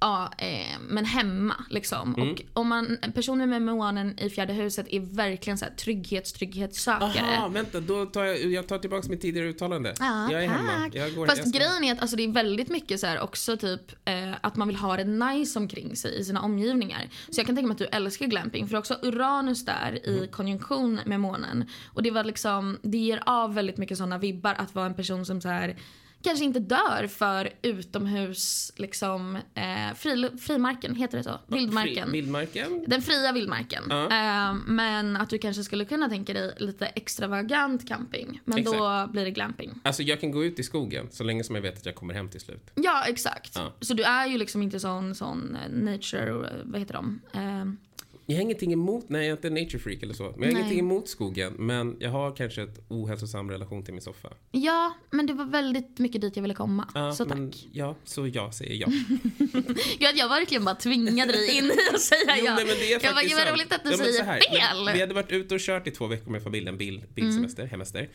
Speaker 2: ja, eh, men hemma liksom.
Speaker 3: Mm.
Speaker 2: Och om man, personer med månen i fjärde huset är verkligen så här trygghets, trygghetssökare.
Speaker 3: Aha, vänta, då tar jag, jag tar tillbaka mitt tidigare uttalande.
Speaker 2: Ja,
Speaker 3: jag är
Speaker 2: tack.
Speaker 3: hemma. Jag går,
Speaker 2: Fast
Speaker 3: jag ska-
Speaker 2: grejen är att alltså, det är väldigt mycket så här också typ eh, att man vill ha det nice omkring sig i sina omgivningar. Så jag kan tänka mig att du älskar glamping för du har också Uranus där
Speaker 3: Mm.
Speaker 2: i konjunktion med månen. Och det var liksom, det ger av väldigt mycket sådana vibbar att vara en person som så här kanske inte dör för utomhus liksom eh, fri, frimarken, heter det så? Vildmarken.
Speaker 3: Fri- Vildmarken.
Speaker 2: Den fria vildmarken.
Speaker 3: Ja.
Speaker 2: Eh, men att du kanske skulle kunna tänka dig lite extravagant camping. Men då
Speaker 3: Exakt.
Speaker 2: blir det glamping.
Speaker 3: Alltså jag kan gå ut i skogen så länge som jag vet att jag kommer hem till slut.
Speaker 2: Ja, exakt.
Speaker 3: Ja.
Speaker 2: Så du är ju liksom inte sån, sån eh, nature, eh, vad heter de? Ehm,
Speaker 3: Jag har ingenting emot, nej jag är inte en nature freak eller så, men jag
Speaker 2: Nej.
Speaker 3: har ingenting emot skogen. Men jag har kanske ett ohälsosam relation till min soffa.
Speaker 2: ja, men det var väldigt mycket dit jag ville komma.
Speaker 3: Ja,
Speaker 2: så tack.
Speaker 3: men ja, så jag säger ja.
Speaker 2: Gud, jag verkligen bara tvingade dig in i att säga
Speaker 3: Jo,
Speaker 2: ja.
Speaker 3: nej, men det är
Speaker 2: jag bara,
Speaker 3: faktiskt
Speaker 2: gud vad
Speaker 3: sant.
Speaker 2: roligt att du
Speaker 3: Ja, men så
Speaker 2: säger
Speaker 3: här,
Speaker 2: fel. Mm.
Speaker 3: Vi, vi hade varit ute och kört i två veckor med familjen, bil, bilsemester, hemester.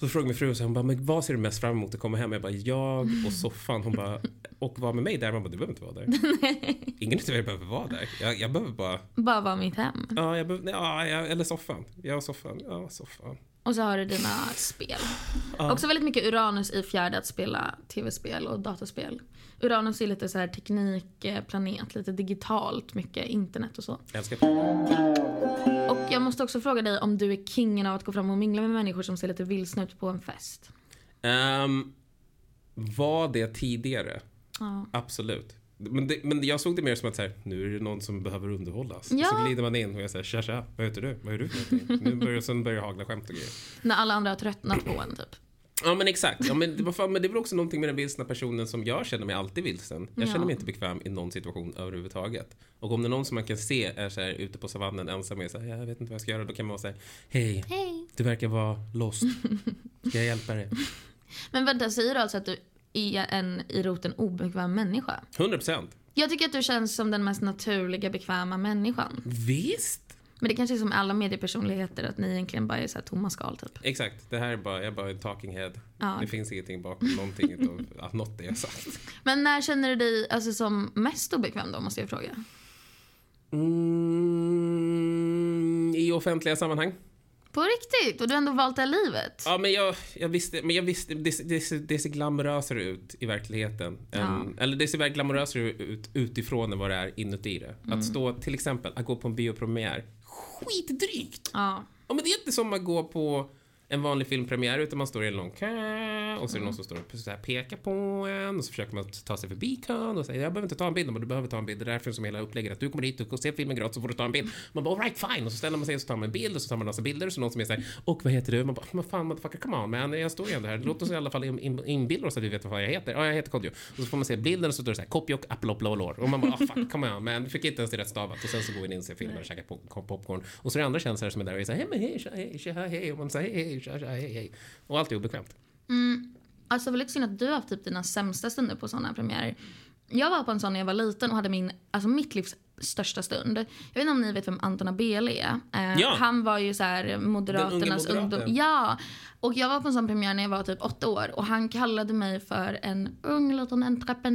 Speaker 3: Så frågade min fru, så hon bara, men vad ser du mest fram emot att komma hem? Jag bara, jag och soffan. Hon bara, och var med mig där? Man bara, du behöver inte vara där. Ingen utav er behöver vara där. Jag, jag behöver bara,
Speaker 2: Bara vara mitt hem.
Speaker 3: ja, jag behöver, nej, ja, jag, eller soffan. Jag och soffan, ja, soffan.
Speaker 2: Och så har du dina spel. Också väldigt mycket Uranus i fjärde att spela tv-spel och datorspel. Uranus är lite så här teknikplanet, lite digitalt, mycket internet och så.
Speaker 3: Jag älskar
Speaker 2: Och jag måste också fråga dig om du är kingen av att gå fram och mingla med människor som ser lite vilsna ut på en fest.
Speaker 3: um, Var det tidigare?
Speaker 2: Ja.
Speaker 3: Absolut. Men, det, men jag såg det mer som att så här, nu är det någon som behöver underhållas.
Speaker 2: Ja.
Speaker 3: Så glider man in och jag säger tja tja, vad heter du? Vad är du för någonting? nu börjar, sen börjar det hagla skämt och grejer.
Speaker 2: När alla andra har tröttnat på en typ.
Speaker 3: Ja men exakt. Ja, men, det, vad fan, men det är väl också någonting med den vilsna personen som jag känner mig alltid vilsen. Jag
Speaker 2: Ja.
Speaker 3: känner mig inte bekväm i någon situation överhuvudtaget. Och om det är någon som man kan se är så här, ute på savannen ensam och är så här, jag vet inte vad jag ska göra. Då kan man vara så här, hej,
Speaker 2: Hej.
Speaker 3: du verkar vara lost. Ska jag hjälpa dig?
Speaker 2: Men vänta, säger du alltså att du är en i roten obekväm människa?
Speaker 3: 100 procent.
Speaker 2: Jag tycker att du känns som den mest naturliga, bekväma människan.
Speaker 3: Visst.
Speaker 2: Men det kanske är som alla mediepersonligheter, att ni egentligen bara är så här tomma skal typ.
Speaker 3: Exakt. Det här är bara, jag är bara en talking head.
Speaker 2: Ja.
Speaker 3: Det finns ingenting bakom någonting utav att något det jag sagt.
Speaker 2: Men när känner du dig alltså, som mest obekväm då, måste jag fråga?
Speaker 3: Mm, I offentliga sammanhang.
Speaker 2: På riktigt? Och du har ändå valt det här livet?
Speaker 3: Ja, men jag, jag visste, men jag visste det, det, ser- det ser glamorösare ut i verkligheten. Än, eller det ser väl glamorösare ut utifrån än vad det är inuti det. Att stå, till exempel, att gå på en biopremiär. Skitdrygt!
Speaker 2: Ja.
Speaker 3: Ja, men det är inte som att gå på en vanlig filmpremiär utan man står i en lång kö och så är det någon som står och så här pekar på en och så försöker man ta sig förbi kön och säger jag behöver inte ta en bild men du behöver ta en bild. Det är därför som hela upplägget är att du kommer hit, du får se filmen gratis så får du ta en bild. Man bara alright fine och så ställer man sig och så tar man en bild och så tar man en massa bilder och så någon som är såhär och vad heter du? Man bara men fan motherfucker come on man jag står ju ändå här. Låt oss i alla fall in- in- inbilla oss att vi vet vad jag heter. Ja jag heter Kodjo. Och så får man se bilden och så står det såhär Kopjok Apploplolor och man bara ah fuck come on man. Fick inte ens det rätt stavat och sen så går vi in och ser filmen och käkar pop- pop- popcorn. Och så är det andra kändisar som är där och är såhär hej men hej tja hej tja hej och man säger hej hej tja tja hej hej. Och allt är obekvämt.
Speaker 2: Alltså väldigt synd att du har haft typ dina sämsta stunder på sådana premiärer. Jag var på en sån när jag var liten och hade min, alltså mitt livs största stund. Jag vet inte om ni vet vem Anton Abele är? Eh,
Speaker 3: Ja.
Speaker 2: Han var ju så här Moderaternas
Speaker 3: moderaten.
Speaker 2: ungdom. Ja. Och jag var på en sån premiär när jag var typ åtta år och han kallade mig för en ung liten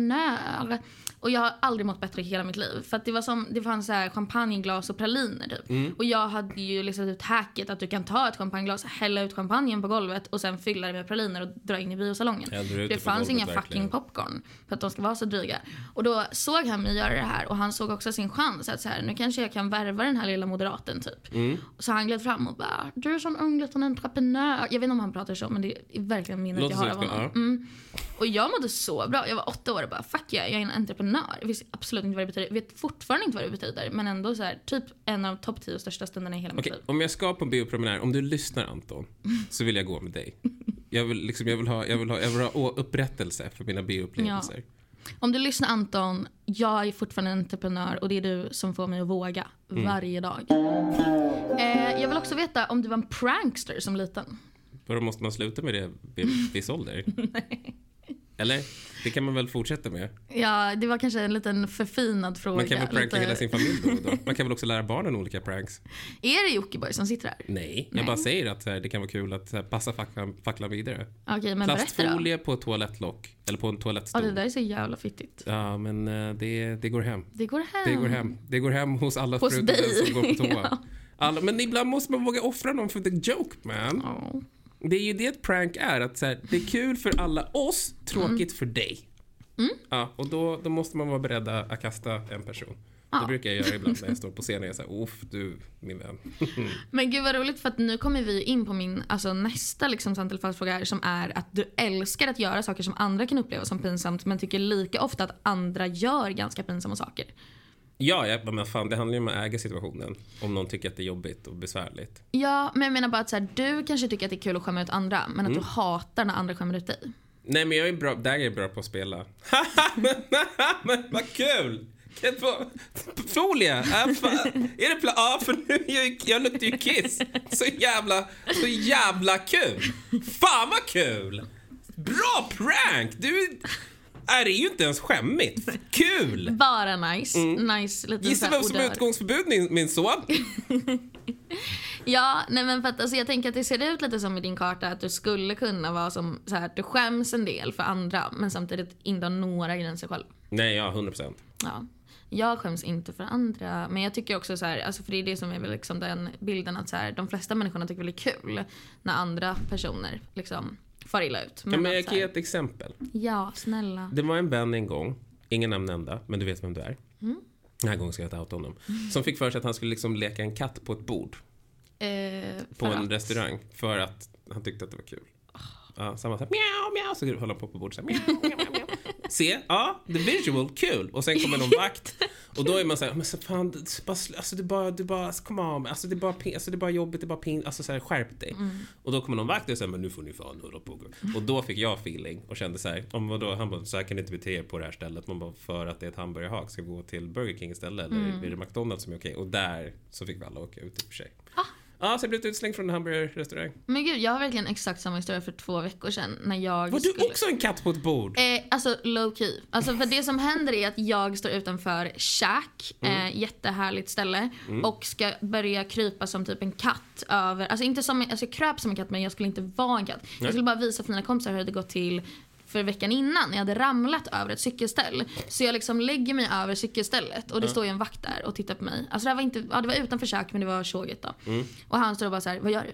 Speaker 2: entreprenör. Och jag har aldrig mått bättre i hela mitt liv. För att det var som, det fanns så här champagneglas och praliner typ.
Speaker 3: Mm.
Speaker 2: Och jag hade ju liksom ut hacket att du kan ta ett champagneglas, hälla ut champagnen på golvet och sen fylla det med praliner och dra in i biosalongen.
Speaker 3: Hällde du ut
Speaker 2: Det
Speaker 3: det på
Speaker 2: fanns
Speaker 3: golvet
Speaker 2: inga fucking
Speaker 3: verkligen?
Speaker 2: popcorn för att de ska vara så dryga. Och då såg han mig göra det här och han såg också sin chans att så här, nu kanske jag kan värva den här lilla moderaten typ.
Speaker 3: Mm.
Speaker 2: Så han gled fram och bara, du är som ung liten entreprenör. Jag vet inte om han pratar så men det är verkligen minnet
Speaker 3: Låter
Speaker 2: jag har
Speaker 3: så
Speaker 2: av
Speaker 3: utgå-
Speaker 2: honom.
Speaker 3: ja.
Speaker 2: Mm. Och jag mådde så bra. Jag var åtta år och bara fuck yeah, jag är en entreprenör. Jag visste absolut inte vad det betyder. Jag vet fortfarande inte vad det betyder. Men ändå så här, typ en av topp 10 största stunderna i hela
Speaker 3: Okej,
Speaker 2: mitt liv.
Speaker 3: om jag ska på en biopromenad, om du lyssnar Anton, så vill jag gå med dig. Jag vill, liksom, jag vill, ha, jag vill, ha, jag vill ha å- upprättelse för mina bioupplevelser.
Speaker 2: Om du lyssnar Anton, jag är fortfarande en entreprenör och det är du som får mig att våga
Speaker 3: Mm.
Speaker 2: varje dag. Eh, jag vill också veta om du var en prankster som liten.
Speaker 3: För då måste man sluta med det vid viss ålder? Eller? Det kan man väl fortsätta med?
Speaker 2: Ja, det var kanske en liten förfinad fråga.
Speaker 3: Man kan väl pranka
Speaker 2: Lite-
Speaker 3: hela sin familj då, och då? Man kan väl också lära barnen olika pranks?
Speaker 2: Är det Jockiboi som sitter här?
Speaker 3: Nej,
Speaker 2: Nej.
Speaker 3: jag bara säger att så här, det kan vara kul att så här, passa facklan, facklan vidare.
Speaker 2: Okej, men berätta då.
Speaker 3: Plastfolie på ett toalettlock, eller på en
Speaker 2: Ja, det
Speaker 3: toalettstol.
Speaker 2: där är så jävla fittigt.
Speaker 3: Ja, men eh, det, det går hem.
Speaker 2: Det går hem.
Speaker 3: Det går hem. Det går hem hos alla
Speaker 2: Hos
Speaker 3: förutom den
Speaker 2: dig.
Speaker 3: som går på toa.
Speaker 2: Ja.
Speaker 3: Alla, men ibland måste man våga offra någon för the joke man.
Speaker 2: Ja.
Speaker 3: Det är ju det ett prank är. Att så här, det är kul för alla oss, tråkigt för dig. Ja, och då, då måste man vara beredd att kasta en person.
Speaker 2: Ja.
Speaker 3: Det brukar jag göra ibland när jag står på scenen. Jag är såhär, off du min vän.
Speaker 2: Men gud vad roligt för att nu kommer vi in på min alltså, nästa liksom, sant eller falsk fråga här, som är att du älskar att göra saker som andra kan uppleva som pinsamt men tycker lika ofta att andra gör ganska pinsamma saker.
Speaker 3: ja, jag bara, men fan det handlar ju om att äga situationen. Om någon tycker att det är jobbigt och besvärligt.
Speaker 2: Ja, men jag menar bara att så här, du kanske tycker att det är kul att skämma ut andra men
Speaker 3: Mm.
Speaker 2: att du hatar när andra skämmer ut dig.
Speaker 3: Nej men jag är bra, där är jag bra på att spela. men vad kul! Kan jag få- Folie! Äh, fan. Är det pla- Ja, för nu är jag, ju- jag luktar ju kiss. Så jävla, så jävla kul! Fan vad kul! Bra prank! Du, äh, det är ju inte ens skämmigt. Kul!
Speaker 2: Bara nice. Nice liten
Speaker 3: Mm. Gissa
Speaker 2: så här
Speaker 3: vem som är
Speaker 2: odör.
Speaker 3: utgångsförbud min, min son?
Speaker 2: Ja, nej men för att alltså, jag tänker att det ser ut lite som i din karta att du skulle kunna vara som så här att du skäms en del för andra men samtidigt inte har några gränser själv.
Speaker 3: Nej, ja, 100%.
Speaker 2: Ja. Jag skäms inte för andra. Men jag tycker också så här, alltså för det är det som är väl liksom den bilden att så här, de flesta människorna tycker väl det är kul när andra personer liksom far illa ut.
Speaker 3: Ja, men jag
Speaker 2: att så
Speaker 3: kan ge
Speaker 2: här,
Speaker 3: ett exempel.
Speaker 2: ja snälla.
Speaker 3: Det var en vän en gång, ingen namn nämnda, men du vet vem du är. Den här gången ska jag ta outa honom. Som fick för sig att han skulle liksom leka en katt på ett bord
Speaker 2: Eh,
Speaker 3: på
Speaker 2: för
Speaker 3: en
Speaker 2: att-
Speaker 3: restaurang för att han tyckte att det var kul. Ja, så han var såhär mjau, mjau, så höll han på på bordet såhär mjau, mjau, mjau. Se, ja, the visual, kul. Och sen kommer någon vakt Och då är man såhär, men så fan, det- bara, sl- alltså det är bara, det är bara, alltså, kom on, alltså det är bara, pin- alltså, det är bara jobbigt, det är bara pin, alltså såhär, skärp dig. Och då kommer någon vakt och säger, men nu får ni fan hålla på. Och då fick jag feeling och kände såhär, om vadå, han bara, så här kan ni inte bete er på det här stället. Man bara, för att det är ett hamburgerhak, ska vi gå till Burger King istället? Eller är det McDonalds som är okej? Och där så fick vi alla åka ut i och för sig. Ja, ah. så jag blev utslängd från en hamburgerrestaurang.
Speaker 2: Men gud, jag har verkligen exakt samma historia för två veckor sedan när jag
Speaker 3: Var du
Speaker 2: skulle...
Speaker 3: också en katt på ett bord?
Speaker 2: Eh, alltså low key. Alltså för det som händer är att jag står utanför Shack,
Speaker 3: Mm.
Speaker 2: eh, jättehärligt ställe, och ska börja krypa som typ en katt över, alltså inte som, alltså jag kröp som en katt men jag skulle inte vara en katt. Jag skulle bara visa för mina kompisar hur det hade gått till för veckan innan när jag hade ramlat över ett cykelställ. Så jag liksom lägger mig över cykelstället och det står ju en vakt där och tittar på mig. Alltså det, här var inte, ja, det var utanför Shack men det var tjoget då.
Speaker 3: Mm.
Speaker 2: Och han står och bara så här, vad gör du?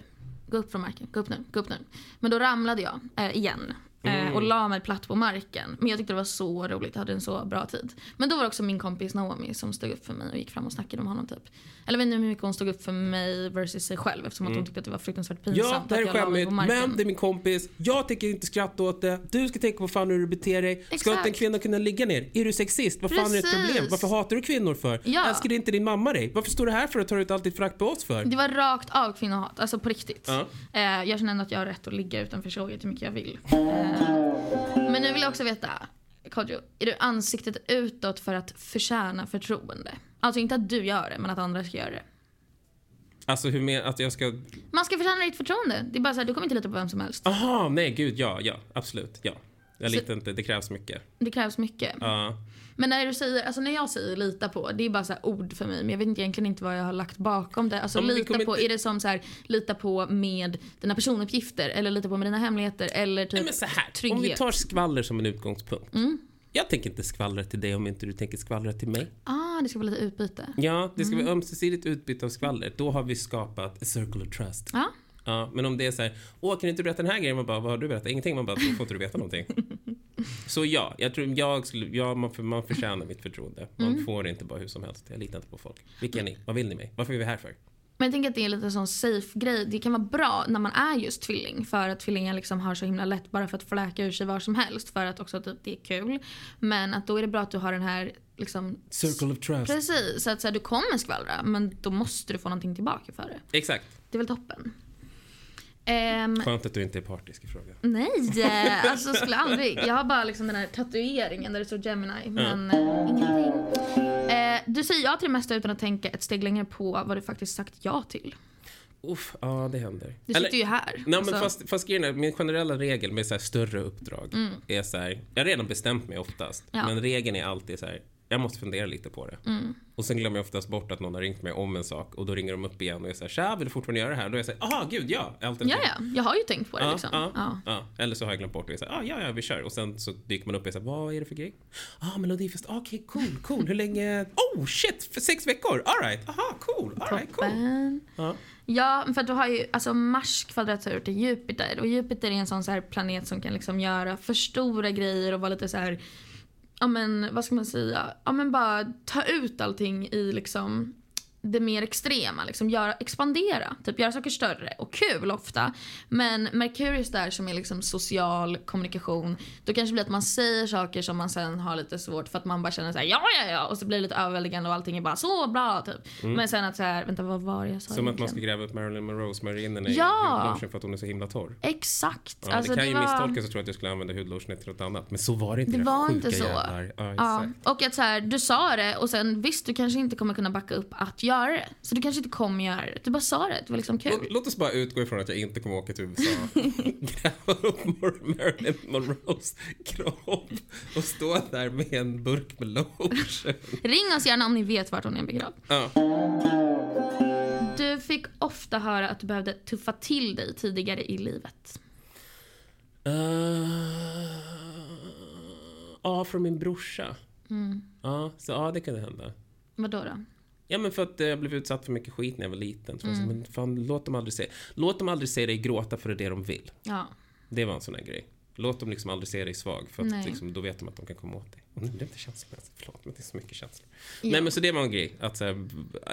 Speaker 2: Gå upp från marken, gå upp nu, gå upp nu. Men då ramlade jag eh, igen.
Speaker 3: Mm.
Speaker 2: Eh, och la mig platt på marken. Men jag tyckte det var så roligt, jag hade en så bra tid. Men då var det också min kompis Naomi som stod upp för mig och gick fram och snackade med honom typ. Eller jag vet inte hur mycket hon stod upp för mig versus sig själv eftersom att hon tyckte att det var fruktansvärt pinsamt
Speaker 3: Mm. Ja, det här
Speaker 2: att
Speaker 3: är
Speaker 2: jag la mig
Speaker 3: skämmigt.
Speaker 2: på marken.
Speaker 3: Men det är min kompis. Jag tänker inte skratta åt det. Du ska tänka på fan hur du beter dig. Ska inte en
Speaker 2: Exakt.
Speaker 3: kvinna kunna ligga ner? Är du sexist? Vad fan är ditt
Speaker 2: Precis.
Speaker 3: problem? Varför hatar du kvinnor för?
Speaker 2: Ja.
Speaker 3: Älskar inte din mamma dig? Varför står du här för att ta ut allt ditt förakt på oss för?
Speaker 2: Det var rakt av kvinnohat, alltså på riktigt.
Speaker 3: Ja.
Speaker 2: Eh, jag känner ändå att jag har rätt att ligga utanför tjoget hur mycket jag vill. Eh, men nu vill jag också veta, Kodjo, är du ansiktet utåt för att förtjäna förtroende? Alltså inte att du gör det, men att andra ska göra det.
Speaker 3: Alltså hur mer att jag ska...
Speaker 2: Man ska förtjäna ditt förtroende. Det är bara så här, du kommer inte lita på vem som helst.
Speaker 3: Aha, nej gud ja, ja, absolut, ja. Jag litar inte, det krävs mycket.
Speaker 2: Det krävs mycket.
Speaker 3: Ja.
Speaker 2: Men när du säger, alltså när jag säger lita på, det är bara så här ord för mig. Men jag vet inte egentligen inte vad jag har lagt bakom det. Alltså
Speaker 3: Ja, men vi
Speaker 2: lita på,
Speaker 3: kommer inte-
Speaker 2: är det som så här, lita på med dina personuppgifter? Eller lita på med dina hemligheter? Eller typ
Speaker 3: Nej, men så här, om vi
Speaker 2: trygghet? Mm.
Speaker 3: tar skvaller som en utgångspunkt. Jag tänker inte skvallra till dig om inte du tänker skvallra till mig.
Speaker 2: Ah, det ska vara lite utbyte.
Speaker 3: Ja, det ska
Speaker 2: Mm.
Speaker 3: vara ömsesidigt utbyte av skvaller. Då har vi skapat a circle of trust.
Speaker 2: Ja.
Speaker 3: Ja, men om det är så här, åh kan inte du berätta den här grejen? Man bara, vad har du berättat? Ingenting. Man bara, då får inte du veta någonting. Så ja, jag tror jag skulle, ja, man, för, man förtjänar mitt förtroende. Man
Speaker 2: Mm.
Speaker 3: får inte bara hur som helst. Jag litar inte på folk. Vilka är ni? Vad vill ni mig? Varför är vi här för?
Speaker 2: Men jag tänker att det är lite sån safe grej. Det kan vara bra när man är just tvilling. För att tvillingar liksom har så himla lätt bara för att fläka ur sig var som helst. För att också typ det är kul. Men att då är det bra att du har den här liksom...
Speaker 1: Circle of trust.
Speaker 2: Precis, så att så här, du kommer skvallra men då måste du få någonting tillbaka för det.
Speaker 3: Exakt.
Speaker 2: Det är väl toppen. Ehm,
Speaker 3: Skönt att du inte är partisk i frågan.
Speaker 2: nej, eh, alltså skulle aldrig. Jag har bara liksom den här tatueringen där det står Gemini men eh, ingenting. Eh, du säger ja till det mesta utan att tänka ett steg längre på vad du faktiskt sagt ja till.
Speaker 3: Uff, ja det händer.
Speaker 2: Du
Speaker 3: Eller-
Speaker 2: sitter ju här.
Speaker 3: Nej,
Speaker 2: alltså.
Speaker 3: men fast, fast grejen är, min generella regel med så här större uppdrag är så här, jag har redan bestämt mig oftast,
Speaker 2: Mm. Ja. Mm.
Speaker 3: men regeln är alltid så här, jag måste fundera lite på det. Och sen glömmer jag oftast bort att någon har ringt mig om en sak och då ringer de upp igen och är så här, tja, vill du fortfarande göra det här? Då är jag så här, aha, gud ja! Alternativ.
Speaker 2: Ja, ja, jag har ju tänkt på det
Speaker 3: Ja,
Speaker 2: liksom.
Speaker 3: ja,
Speaker 2: Ja.
Speaker 3: ja. Eller så har jag glömt bort det. och Så här, ah, ja, ja, vi kör. Och sen så dyker man upp och säger vad är det för grej? Ah, Melodifest. Ah, Okej, cool, cool. Hur länge? Oh shit, för sex veckor. All right. Aha, cool. All right, cool.
Speaker 2: Men-
Speaker 3: Ja.
Speaker 2: Ja, men för att du har ju alltså Mars kvadratur till Jupiter och Jupiter är en sån så här planet som kan liksom göra för stora grejer och vara lite så här ja men vad ska man säga? Ja men bara ta ut allting i liksom det mer extrema, liksom göra, expandera, typ göra saker större och kul ofta. Men Mercurius där som är liksom social kommunikation, då kanske det blir att man säger saker som man sen har lite svårt för att man bara känner så här ja ja ja och så blir det lite överväldigande och allting är bara så bra typ. Men sen att så här vänta vad var det jag sa
Speaker 3: Mm. Som att man
Speaker 2: egentligen?
Speaker 3: ska gräva upp Marilyn Monroes mariner
Speaker 2: Ja.
Speaker 3: i lotionen för att hon är så himla torr.
Speaker 2: Exakt.
Speaker 3: Ja,
Speaker 2: alltså,
Speaker 3: det kan ju
Speaker 2: var...
Speaker 3: misstolkas och tro att jag skulle använda hudlotionen till något annat. Men så var det inte.
Speaker 2: Det
Speaker 3: era
Speaker 2: var
Speaker 3: sjuka
Speaker 2: inte så.
Speaker 3: jävlar. Ja,
Speaker 2: Ja,
Speaker 3: exakt.
Speaker 2: och att så här, du sa det och sen visst du kanske inte kommer kunna backa upp att göra det. Så du kanske inte kommer göra det. Du bara sa det, det var liksom
Speaker 3: Låt,
Speaker 2: kul.
Speaker 3: låt oss bara utgå ifrån att jag inte kommer åka till USA gräva upp Mar- Marilyn Monroes kropp och stå där med en burk med lotion.
Speaker 2: Ring oss gärna om ni vet vart hon är begravd.
Speaker 3: Ja.
Speaker 2: Du fick ofta höra att du behövde tuffa till dig tidigare i livet.
Speaker 3: Eh, Ja, från min brorsa.
Speaker 2: Mm.
Speaker 3: Ja, så ja, det kunde hända.
Speaker 2: Vad då? då?
Speaker 3: Ja men för att eh, jag blev utsatt för mycket skit när jag var liten. Så jag
Speaker 2: Mm.
Speaker 3: sa, men fan, låt, dem aldrig se, låt dem aldrig se dig gråta för det är det de vill.
Speaker 2: Ja.
Speaker 3: Det var en sån här grej. Låt dem liksom aldrig se dig svag för att
Speaker 2: Nej.
Speaker 3: liksom, då vet de att de kan komma åt dig. Och nu blev det känslomässigt, förlåt men det är så mycket känslor.
Speaker 2: Ja.
Speaker 3: Nej men så det var en grej. Att, så här,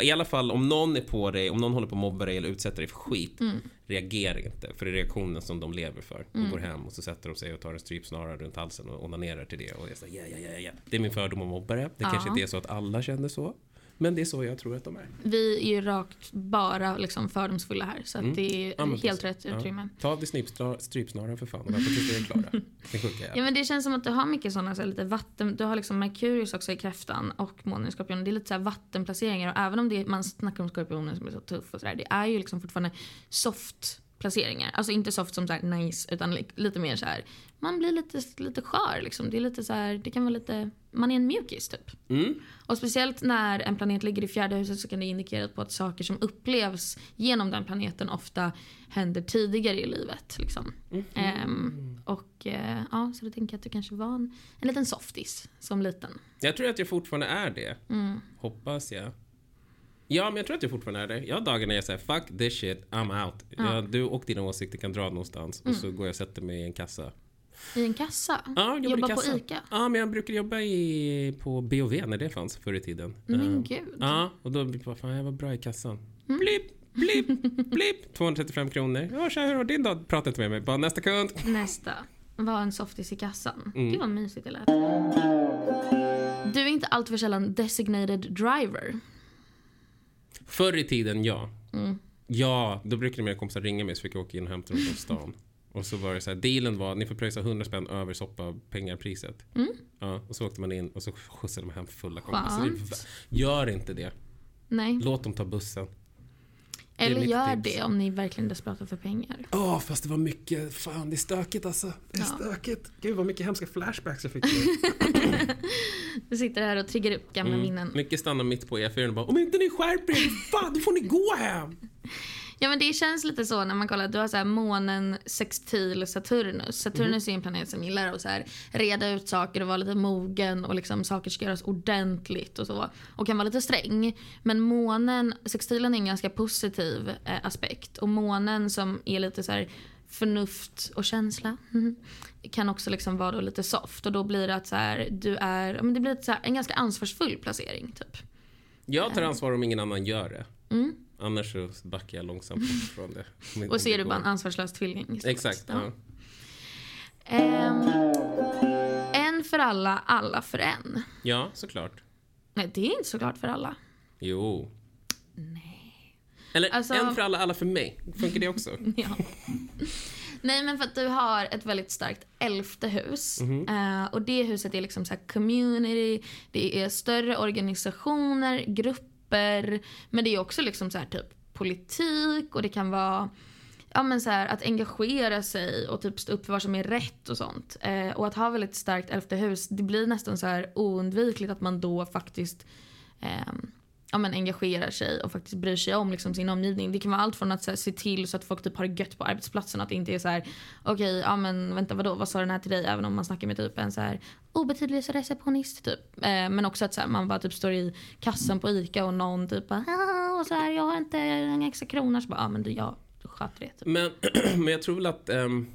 Speaker 3: I alla fall om någon är på dig, om någon håller på att mobba dig eller utsätter dig för skit.
Speaker 2: Mm.
Speaker 3: Reagera inte, för det är reaktionen som de lever för. De går hem och så sätter de sig och tar en strypsnara runt halsen och onanerar till det. Och jag säger, ja, ja, ja, ja. Det är min fördom om mobbare. Det kanske inte är så att alla känner så. Men det är så jag tror att de är.
Speaker 2: Vi är ju rakt bara liksom fördomsfulla här så att det är
Speaker 3: Mm. Ja, men
Speaker 2: helt
Speaker 3: precis.
Speaker 2: rätt
Speaker 3: Ja.
Speaker 2: utrymme.
Speaker 3: Ta av dig strypstra- strypsnaran för fan. Och vänta tills vi är klara. Sen skickar jag.
Speaker 2: Ja men det känns som att du har mycket sådana så här, lite vatten, du har liksom Merkurius också i kräftan och månen i skorpionen. Det är lite så här vattenplaceringar och även om det är, man snackar om skorpionen som är så tuff och sådär. Det är ju liksom fortfarande soft placeringar. Alltså inte soft som så här nice utan li- lite mer så här. man blir lite, lite skör liksom. Det är lite så här, det kan vara lite, man är en mjukis typ.
Speaker 3: Mm.
Speaker 2: Och speciellt när en planet ligger i fjärde huset så kan det indikera på att saker som upplevs genom den planeten ofta händer tidigare i livet. Liksom.
Speaker 3: Mhm.
Speaker 2: Ehm, och eh, ja, så då tänker jag att du kanske var en, en liten softis som liten.
Speaker 3: Jag tror att jag fortfarande är det.
Speaker 2: Mm.
Speaker 3: Hoppas jag. Ja, men jag tror att jag fortfarande är det. Jag har dagar när jag säger fuck this shit, I'm out. Ja, du och dina åsikter kan dra någonstans
Speaker 2: Mm.
Speaker 3: och så går jag och sätter mig i en kassa.
Speaker 2: I en kassa.
Speaker 3: Ja, jag jobbar
Speaker 2: Jobbar
Speaker 3: i kassa.
Speaker 2: på ICA.
Speaker 3: Ja, men jag brukade jobba i, på BOV när det fanns förr i tiden. Eh,
Speaker 2: Men Mm. gud.
Speaker 3: Ja, och då blir det bara, fan jag var bra i kassan. Blipp, blipp, blipp. 235 kronor. Ja, tja, hur har din dag? Prata inte med mig. Bara nästa kund.
Speaker 2: Nästa. Var en softis i kassan.
Speaker 3: Mm.
Speaker 2: Gud vad mysigt det lät. Du är inte alltför sällan designated driver.
Speaker 3: Förr i tiden, ja.
Speaker 2: Mm.
Speaker 3: Ja, då brukade mina kompisar ringa mig så fick jag åka in och hämta dem från stan. och så var det så här, dealen var ni får pröjsa 100 spänn över soppapengarpriset.
Speaker 2: Mm.
Speaker 3: Ja, och så åkte man in och så skjutsade man hem fulla kompisar.
Speaker 2: Skönt.
Speaker 3: alltså, Det är- Gör inte det.
Speaker 2: Nej.
Speaker 3: Låt dem ta bussen. är
Speaker 2: Eller
Speaker 3: mitt
Speaker 2: gör
Speaker 3: tips.
Speaker 2: det om ni verkligen är desperata för pengar.
Speaker 3: Ja, fast det var mycket. Fan, det är stökigt alltså. Det är
Speaker 2: Ja.
Speaker 3: stökigt. Gud vad mycket hemska flashbacks jag fick.
Speaker 2: Du sitter här och triggar upp gamla
Speaker 3: Mm.
Speaker 2: minnen.
Speaker 3: mycket stannar mitt på E4 och bara om inte ni skärper er, fan då får ni gå hem.
Speaker 2: Ja men det känns lite så när man kollar. Du har så här månen, sextil, Saturnus. Saturnus är en planet som gillar att så här reda ut saker och vara lite mogen och liksom saker ska göras ordentligt och så. Och kan vara lite sträng. Men månen, sextilen är en ganska positiv eh, aspekt. Och månen som är lite så här förnuft och känsla mhm, kan också liksom vara då lite soft. Och då blir det att så här, du är, ja, men det blir ett så här, en ganska ansvarsfull placering typ.
Speaker 3: Jag tar ansvar om ingen annan gör det. Annars så backar jag långsamt bort från det. Om inte
Speaker 2: Mm. Och så är
Speaker 3: det
Speaker 2: du bara en
Speaker 3: går.
Speaker 2: ansvarslös tvilling. istället.
Speaker 3: Exakt.
Speaker 2: Ja.
Speaker 3: Ja.
Speaker 2: Ehm, en för alla, alla för en.
Speaker 3: ja, såklart.
Speaker 2: Nej, det är inte såklart för alla.
Speaker 3: Jo. Eller
Speaker 2: Alltså-
Speaker 3: en för alla, alla för mig. Funkar det också?
Speaker 2: Ja. Nej, men för att du har ett väldigt starkt elfte hus. Eh, och det huset är liksom så här community, det är större organisationer, grupper. Men det är också liksom så här typ politik och det kan vara ja, men så här, att engagera sig och typ stå upp för vad som är rätt och sånt. Eh, och att ha väldigt starkt elfte hus, det blir nästan så här oundvikligt att man då faktiskt ehm, ja, men engagerar sig och faktiskt bryr sig om liksom, sin omgivning. Det kan vara allt från att så här, se till så att folk typ har det gött på arbetsplatsen. Att det inte är så här, okej, ja men vänta vadå, vad sa den här till dig? Även om man snackar med typ en så här obetydlig receptionist typ. Eh, men också att så här, man bara typ står i kassan på ICA och någon typ bara, "Ah", och så här, jag har inte en extra krona. Så bara, ja men du, jag sköter det. Typ.
Speaker 3: Men, men jag tror väl att... ehm,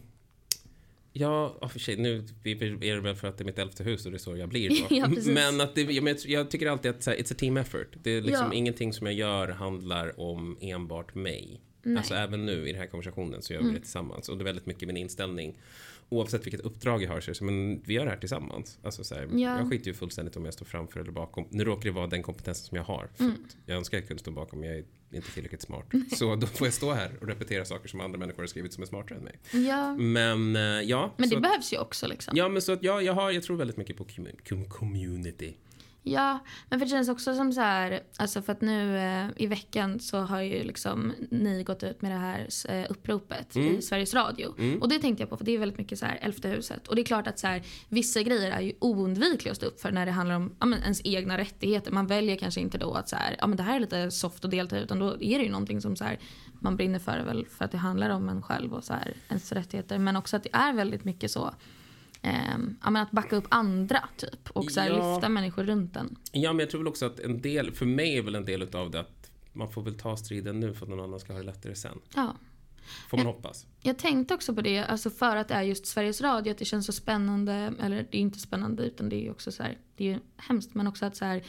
Speaker 3: ja, ja, för sig, nu är det väl för att det är mitt elfte hus och det är så jag blir då.
Speaker 2: Ja, precis.
Speaker 3: men att det, jag, men jag- jag tycker alltid att så här, it's a team effort. Det är liksom
Speaker 2: Ja.
Speaker 3: ingenting som jag gör handlar om enbart mig. Alltså även nu i den här konversationen så gör vi
Speaker 2: Mm.
Speaker 3: det tillsammans. Och det är väldigt mycket min inställning. Oavsett vilket uppdrag jag har så är det så, men vi gör det här tillsammans. Alltså, så här,
Speaker 2: Ja.
Speaker 3: Jag skiter ju fullständigt om jag står framför eller bakom. Nu råkar det vara den kompetensen som jag har. För
Speaker 2: Mm.
Speaker 3: att Jag önskar jag kunde stå bakom, men jag är inte tillräckligt smart. Så då får jag stå här och repetera saker som andra människor har skrivit som är smartare än mig.
Speaker 2: Ja.
Speaker 3: Men eh, ja.
Speaker 2: Men det
Speaker 3: så att,
Speaker 2: behövs ju också liksom.
Speaker 3: ja, men så att jag, jag, har, jag tror väldigt mycket på commu- com- community.
Speaker 2: Ja, men för det känns också som så här, alltså för att nu eh, i veckan så har ju liksom ni gått ut med det här eh, uppropet i Sveriges Radio. Och det tänkte jag på för det är väldigt mycket så här elfte huset. Och det är klart att så här, vissa grejer är ju oundvikliga att stå upp för när det handlar om ja, men ens egna rättigheter. Man väljer kanske inte då att så här, ja men det här är lite soft att delta i utan då är det ju någonting som så här, man brinner för väl för att det handlar om en själv och så här, ens rättigheter. Men också att det är väldigt mycket så. ehm, ja, men att backa upp andra typ och så här,
Speaker 3: Ja.
Speaker 2: lyfta människor runt en.
Speaker 3: Ja, men jag tror väl också att en del, för mig är väl en del utav det att man får väl ta striden nu för att någon annan ska ha det lättare sen.
Speaker 2: Ja.
Speaker 3: Får man hoppas.
Speaker 2: Jag tänkte också på det, alltså för att det är just Sveriges Radio, att det känns så spännande. Eller det är inte spännande utan det är också så här, det är ju hemskt. Men också att så här,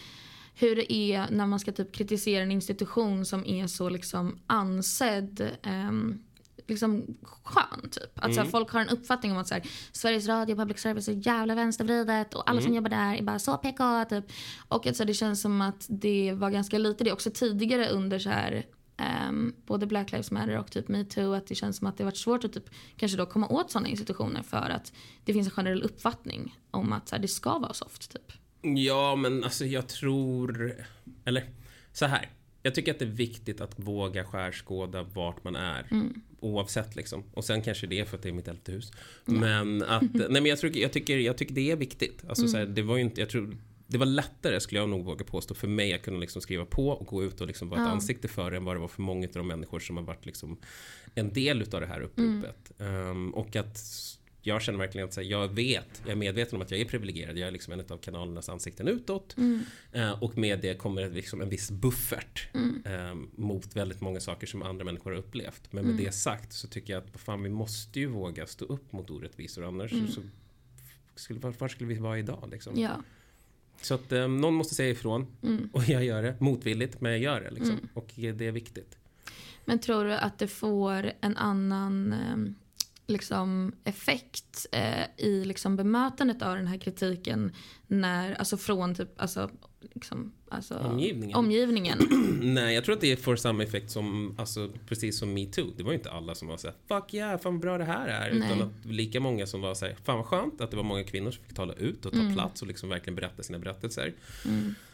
Speaker 2: hur det är när man ska typ kritisera en institution som är så liksom ansedd. ehm, liksom skön typ. Att så här, folk har en uppfattning om att så här, Sveriges Radio Public Service är jävla vänstervridet och alla som jobbar där är bara så PK typ. Och att så här, det känns som att det var ganska lite det också tidigare under så här ehm, både Black Lives Matter och typ metoo att det känns som att det har varit svårt att typ kanske då komma åt sådana institutioner för att det finns en generell uppfattning om att så här, det ska vara soft typ.
Speaker 3: Ja, men alltså jag tror... Eller så här. Jag tycker att det är viktigt att våga skärskåda vart man är. Oavsett liksom. Och sen kanske det är för att det är mitt elfte hus. Men att... Nej men jag, tror, jag, tycker, jag tycker det är viktigt. Alltså så här, det var ju inte... Jag tror, det var lättare skulle jag nog våga påstå för mig att kunna liksom skriva på och gå ut och liksom vara ett ansikte för det än vad det var för många av de människor som har varit liksom en del utav det här uppropet. Ehm, och att jag känner verkligen att så här, jag vet, jag är medveten om att jag är privilegierad. Jag är liksom en av kanalernas ansikten utåt. Eh, och med det kommer det liksom en viss buffert eh, mot väldigt många saker som andra människor har upplevt. Men med det sagt så tycker jag att vad fan, vi måste ju våga stå upp mot orättvisor. Annars så, skulle, var, var skulle vi vara idag? Liksom?
Speaker 2: Ja.
Speaker 3: Så att eh, någon måste säga ifrån. Och jag gör det. Motvilligt, men jag gör det. Liksom. Och det är viktigt.
Speaker 2: Men tror du att det får en annan eh, liksom, effekt eh, i liksom, bemötandet av den här kritiken när, alltså från typ, alltså, liksom, alltså,
Speaker 3: Omgivningen.
Speaker 2: omgivningen?
Speaker 3: Nej, jag tror att det får samma effekt som, alltså, precis som metoo. Det var ju inte alla som var såhär, fuck yeah, fan vad bra det här är. Utan
Speaker 2: Nej.
Speaker 3: att lika många som var såhär, fan vad skönt att det var många kvinnor som fick tala ut och ta
Speaker 2: Mm.
Speaker 3: plats och liksom verkligen berätta sina berättelser.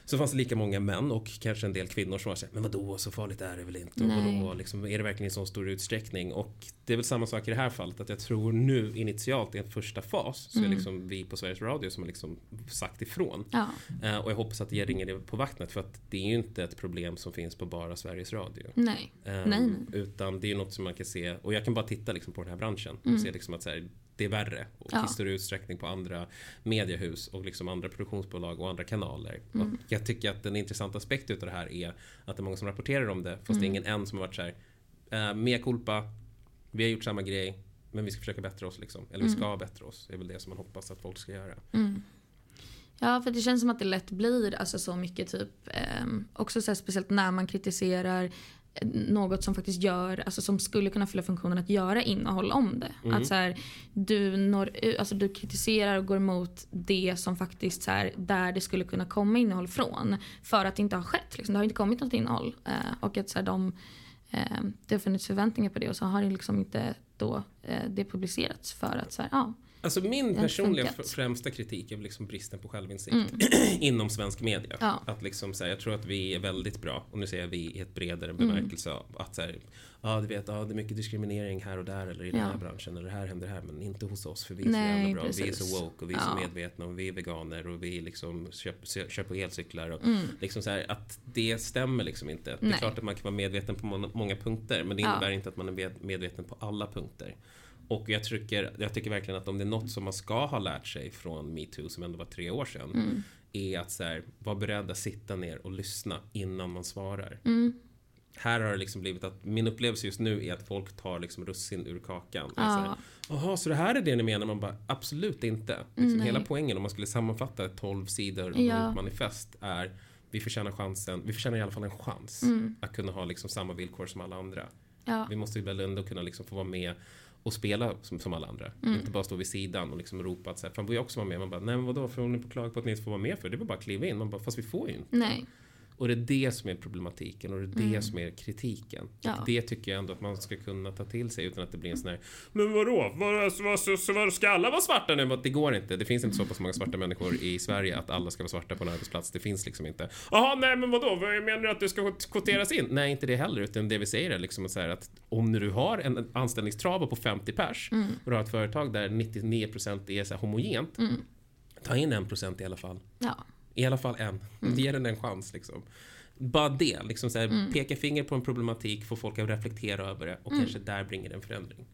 Speaker 3: Så fanns det lika många män och kanske en del kvinnor som var såhär, men vadå, så farligt är det väl inte? Och
Speaker 2: Nej.
Speaker 3: vadå, liksom, är det verkligen i så stor utsträckning? Och det är väl samma sak i det här fallet, att jag tror nu initialt i en första fas så är
Speaker 2: Mm.
Speaker 3: liksom vi på Sveriges Radio som har liksom sagt ifrån.
Speaker 2: ja.
Speaker 3: Eh, Och jag hoppas att jag ringer det på vattnet för att det är ju inte ett problem som finns på bara Sveriges Radio.
Speaker 2: Nej.
Speaker 3: Eh,
Speaker 2: nej, nej.
Speaker 3: Utan det är ju något som man kan se och jag kan bara titta liksom på den här branschen och se liksom att så här, det är värre och
Speaker 2: Mm. Ja.
Speaker 3: i större utsträckning på andra mediehus och liksom andra produktionsbolag och andra kanaler.
Speaker 2: Mm.
Speaker 3: Och jag tycker att en intressant aspekt utav det här är att det är många som rapporterar om det fast
Speaker 2: Mm.
Speaker 3: det är ingen än som har varit så här, eh, mea culpa, vi har gjort samma grej men vi ska försöka bättra oss liksom. Eller vi
Speaker 2: Mm.
Speaker 3: ska bättra oss. Det är väl det som man hoppas att folk ska göra.
Speaker 2: Ja, för det känns som att det lätt blir alltså, så mycket typ, ehm, också så här, speciellt när man kritiserar eh, något som faktiskt gör, alltså som skulle kunna fylla funktionen att göra innehåll om det. Att så här, du, når, u- alltså, du kritiserar och går emot det som faktiskt så här, där det skulle kunna komma innehåll från. För att det inte har skett, liksom. det har inte kommit något innehåll. Eh, och att så här, de, eh, det har funnits förväntningar på det och så har det liksom inte då, eh, det publicerats för att så här, ja.
Speaker 3: Alltså min
Speaker 2: inte
Speaker 3: personliga
Speaker 2: funkat. Mm.
Speaker 3: f- främsta kritik är väl liksom bristen på självinsikt inom svensk media.
Speaker 2: Ja.
Speaker 3: Att liksom, så här, jag tror att vi är väldigt bra, och nu säger jag vi i ett bredare
Speaker 2: Mm.
Speaker 3: bemärkelse, av att så här, ja du vet, ja, det är mycket diskriminering här och där eller i den
Speaker 2: Ja.
Speaker 3: här branschen eller det här händer här men inte hos oss för vi är så
Speaker 2: Nej,
Speaker 3: jävla bra, vi är
Speaker 2: precis.
Speaker 3: så woke och vi är så
Speaker 2: Ja.
Speaker 3: medvetna och vi är veganer och vi liksom köper, köper elcyklar och liksom så här, att det stämmer liksom inte. Det är
Speaker 2: Mm. Nej.
Speaker 3: klart att man kan vara medveten på många- många punkter men det
Speaker 2: Ja.
Speaker 3: innebär inte att man är med- medveten på alla punkter. Och jag tycker, jag tycker verkligen att om det är något som man ska ha lärt sig från metoo som ändå var tre år sedan är att så här, vara beredd att sitta ner och lyssna innan man svarar. Här har det liksom blivit att min upplevelse just nu är att folk tar liksom russin ur kakan. Och så här, Jaha, så det här är det ni menar? Man bara absolut inte. Liksom hela poängen om man skulle sammanfatta ett 12 sidor
Speaker 2: Ja.
Speaker 3: långt manifest är vi förtjänar chansen, vi förtjänar i alla fall en chans att kunna ha liksom samma villkor som alla andra.
Speaker 2: Mm. ja.
Speaker 3: Vi måste ju väl ändå kunna liksom få vara med och spela som, som alla andra.
Speaker 2: Mm.
Speaker 3: Inte bara stå vid sidan och liksom ropa att så här, fan vill jag också vara med? Man bara, nej men vadå, för om ni på klag på att ni inte får vara med för? Det var bara att kliva in. Man bara, fast vi får ju inte.
Speaker 2: Nej.
Speaker 3: Och det är det som är problematiken och det är det som är kritiken.
Speaker 2: Ja.
Speaker 3: Och det tycker jag ändå att man ska kunna ta till sig utan att det blir en sån här Men vadå, var, var, var, ska alla vara svarta nu? Bara, Det går inte. Det finns inte så pass många svarta människor i Sverige att alla ska vara svarta på en arbetsplats. Det finns liksom inte. Jaha, nej men vadå, vad menar du att du ska kvoteras in? Nej, inte det heller. Utan det vi säger är liksom så här att om du har en anställningstrava på 50 pers och du har ett företag där 99% är så här homogent. Ta in 1% i alla fall.
Speaker 2: Ja.
Speaker 3: I alla fall en.
Speaker 2: Mm.
Speaker 3: Ge den en chans liksom. Bara det, liksom så här, peka finger på en problematik, få folk att reflektera över det och
Speaker 2: Mm.
Speaker 3: kanske där bringa en förändring.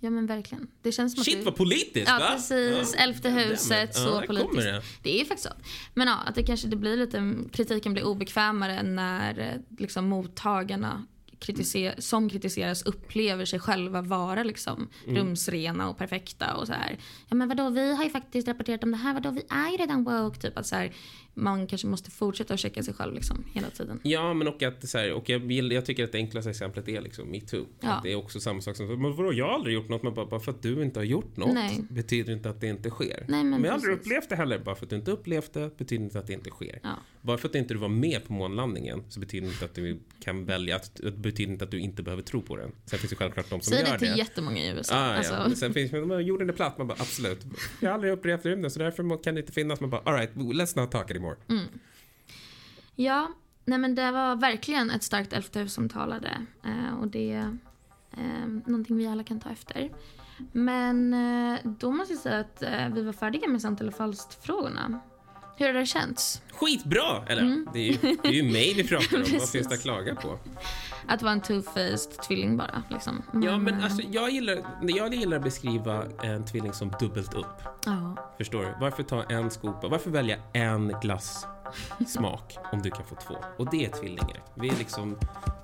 Speaker 2: Ja men verkligen. Det känns som att
Speaker 3: Shit
Speaker 2: det-
Speaker 3: vad politiskt
Speaker 2: Ja
Speaker 3: va?
Speaker 2: precis,
Speaker 3: Ja.
Speaker 2: elfte
Speaker 3: Damn it.
Speaker 2: huset,
Speaker 3: Ja,
Speaker 2: så
Speaker 3: där
Speaker 2: politiskt.
Speaker 3: kommer det.
Speaker 2: Det. är faktiskt så. Men ja, att det kanske det blir lite, kritiken blir obekvämare när eh, liksom, mottagarna kritiser- som kritiseras upplever sig själva vara liksom
Speaker 3: Mm.
Speaker 2: rumsrena och perfekta och så här. Ja men vadå vi har ju faktiskt rapporterat om det här, vadå vi är ju redan woke. Typ att så här, man kanske måste fortsätta att checka sig själv liksom hela tiden.
Speaker 3: Ja, men och att så här, och jag, vill, jag tycker att det enklaste exemplet är liksom metoo.
Speaker 2: Ja.
Speaker 3: Att Det är också samma sak som, men vadå, jag har aldrig gjort något. Men bara, bara för att du inte har gjort något
Speaker 2: Nej.
Speaker 3: betyder inte att det inte sker.
Speaker 2: Nej, men
Speaker 3: jag har aldrig
Speaker 2: precis.
Speaker 3: upplevt det heller. Bara för att du inte upplevt det betyder inte att det inte sker.
Speaker 2: Ja.
Speaker 3: Bara för att inte du var med på månlandningen så betyder inte att du kan välja, att, det betyder inte att du inte behöver tro på den. Sen finns det självklart de som
Speaker 2: Säg
Speaker 3: gör
Speaker 2: det till
Speaker 3: det.
Speaker 2: jättemånga i USA.
Speaker 3: Ah,
Speaker 2: alltså,
Speaker 3: ja. Men Sen finns men man, jorden är platt, man bara absolut. Jag har aldrig upplevt rymden så därför må- kan det inte finnas. Man bara alright, let's not talk anymore.
Speaker 2: Mm. Ja, nej men det var verkligen ett starkt elfte hus som talade. Eh, och det är eh, någonting vi alla kan ta efter. Men eh, då måste jag säga att eh, vi var färdiga med sant eller falskt-frågorna. Hur har det känts?
Speaker 3: Skitbra! Eller det, är ju, det är ju mig vi pratar om, vad
Speaker 2: Mm. Precis.
Speaker 3: finns det att klaga på?
Speaker 2: Att vara en two-faced tvilling bara. Liksom.
Speaker 3: Ja men
Speaker 2: eh,
Speaker 3: alltså jag gillar, jag gillar att beskriva en tvilling som dubbelt upp.
Speaker 2: ja.
Speaker 3: Förstår du? Varför ta en skopa, varför välja en glass smak om du kan få två? Och det är tvillingar. Vi är liksom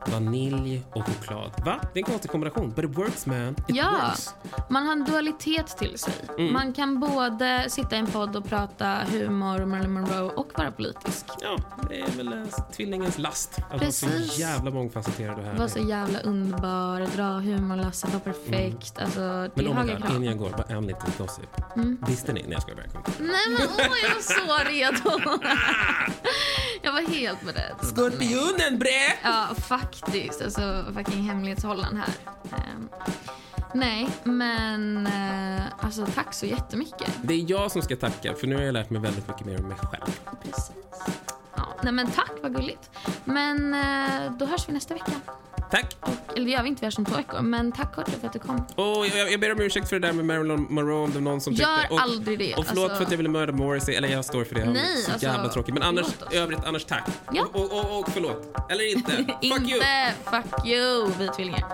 Speaker 3: vanilj och choklad. Va? Det är en konstig kombination. But it works man. It
Speaker 2: ja,
Speaker 3: works.
Speaker 2: man har en dualitet till sig.
Speaker 3: Mm.
Speaker 2: Man kan både sitta i en podd och prata humor, Marilyn Monroe och vara politisk.
Speaker 3: Ja, det är väl eh, tvillingens last. Att vara så
Speaker 2: Precis.
Speaker 3: jävla mångfacetterad och härlig.
Speaker 2: Var så jävla underbar, dra humorlasset, var perfekt. Alltså, det
Speaker 3: Men
Speaker 2: är
Speaker 3: oh my
Speaker 2: höga
Speaker 3: god,
Speaker 2: krav.
Speaker 3: innan jag går, bara en liten gossip.
Speaker 2: Mm.
Speaker 3: Visste ni? när jag ska börja komma.
Speaker 2: Nej men åh, jag var så redo. jag var helt beredd.
Speaker 3: Skorpionen bre!
Speaker 2: Ja, faktiskt. Alltså fucking hemlighetshållaren här. Ehm, nej, men eh, alltså tack så jättemycket.
Speaker 3: Det är jag som ska tacka, för nu har jag lärt mig väldigt mycket mer om mig själv.
Speaker 2: Precis. Ja, nej men tack, vad gulligt. Men eh, då hörs vi nästa vecka.
Speaker 3: Tack!
Speaker 2: Och, eller det gör vi inte, vi hörs om två veckor. Men tack Korto för att du kom.
Speaker 3: Och jag, jag ber om ursäkt för det där med Marilyn Monroe om det var någon som
Speaker 2: Gör
Speaker 3: tyckte. Och,
Speaker 2: aldrig det,
Speaker 3: Och förlåt
Speaker 2: alltså.
Speaker 3: för att jag ville mörda Morrissey, eller jag står för det. Han är
Speaker 2: Nej,
Speaker 3: så
Speaker 2: alltså,
Speaker 3: jävla tråkig. Men annars,
Speaker 2: förlåt oss.
Speaker 3: i övrigt, annars tack.
Speaker 2: Ja.
Speaker 3: Och, och, och, och förlåt. Eller inte. Fuck you!
Speaker 2: inte fuck you, vi tvillingar.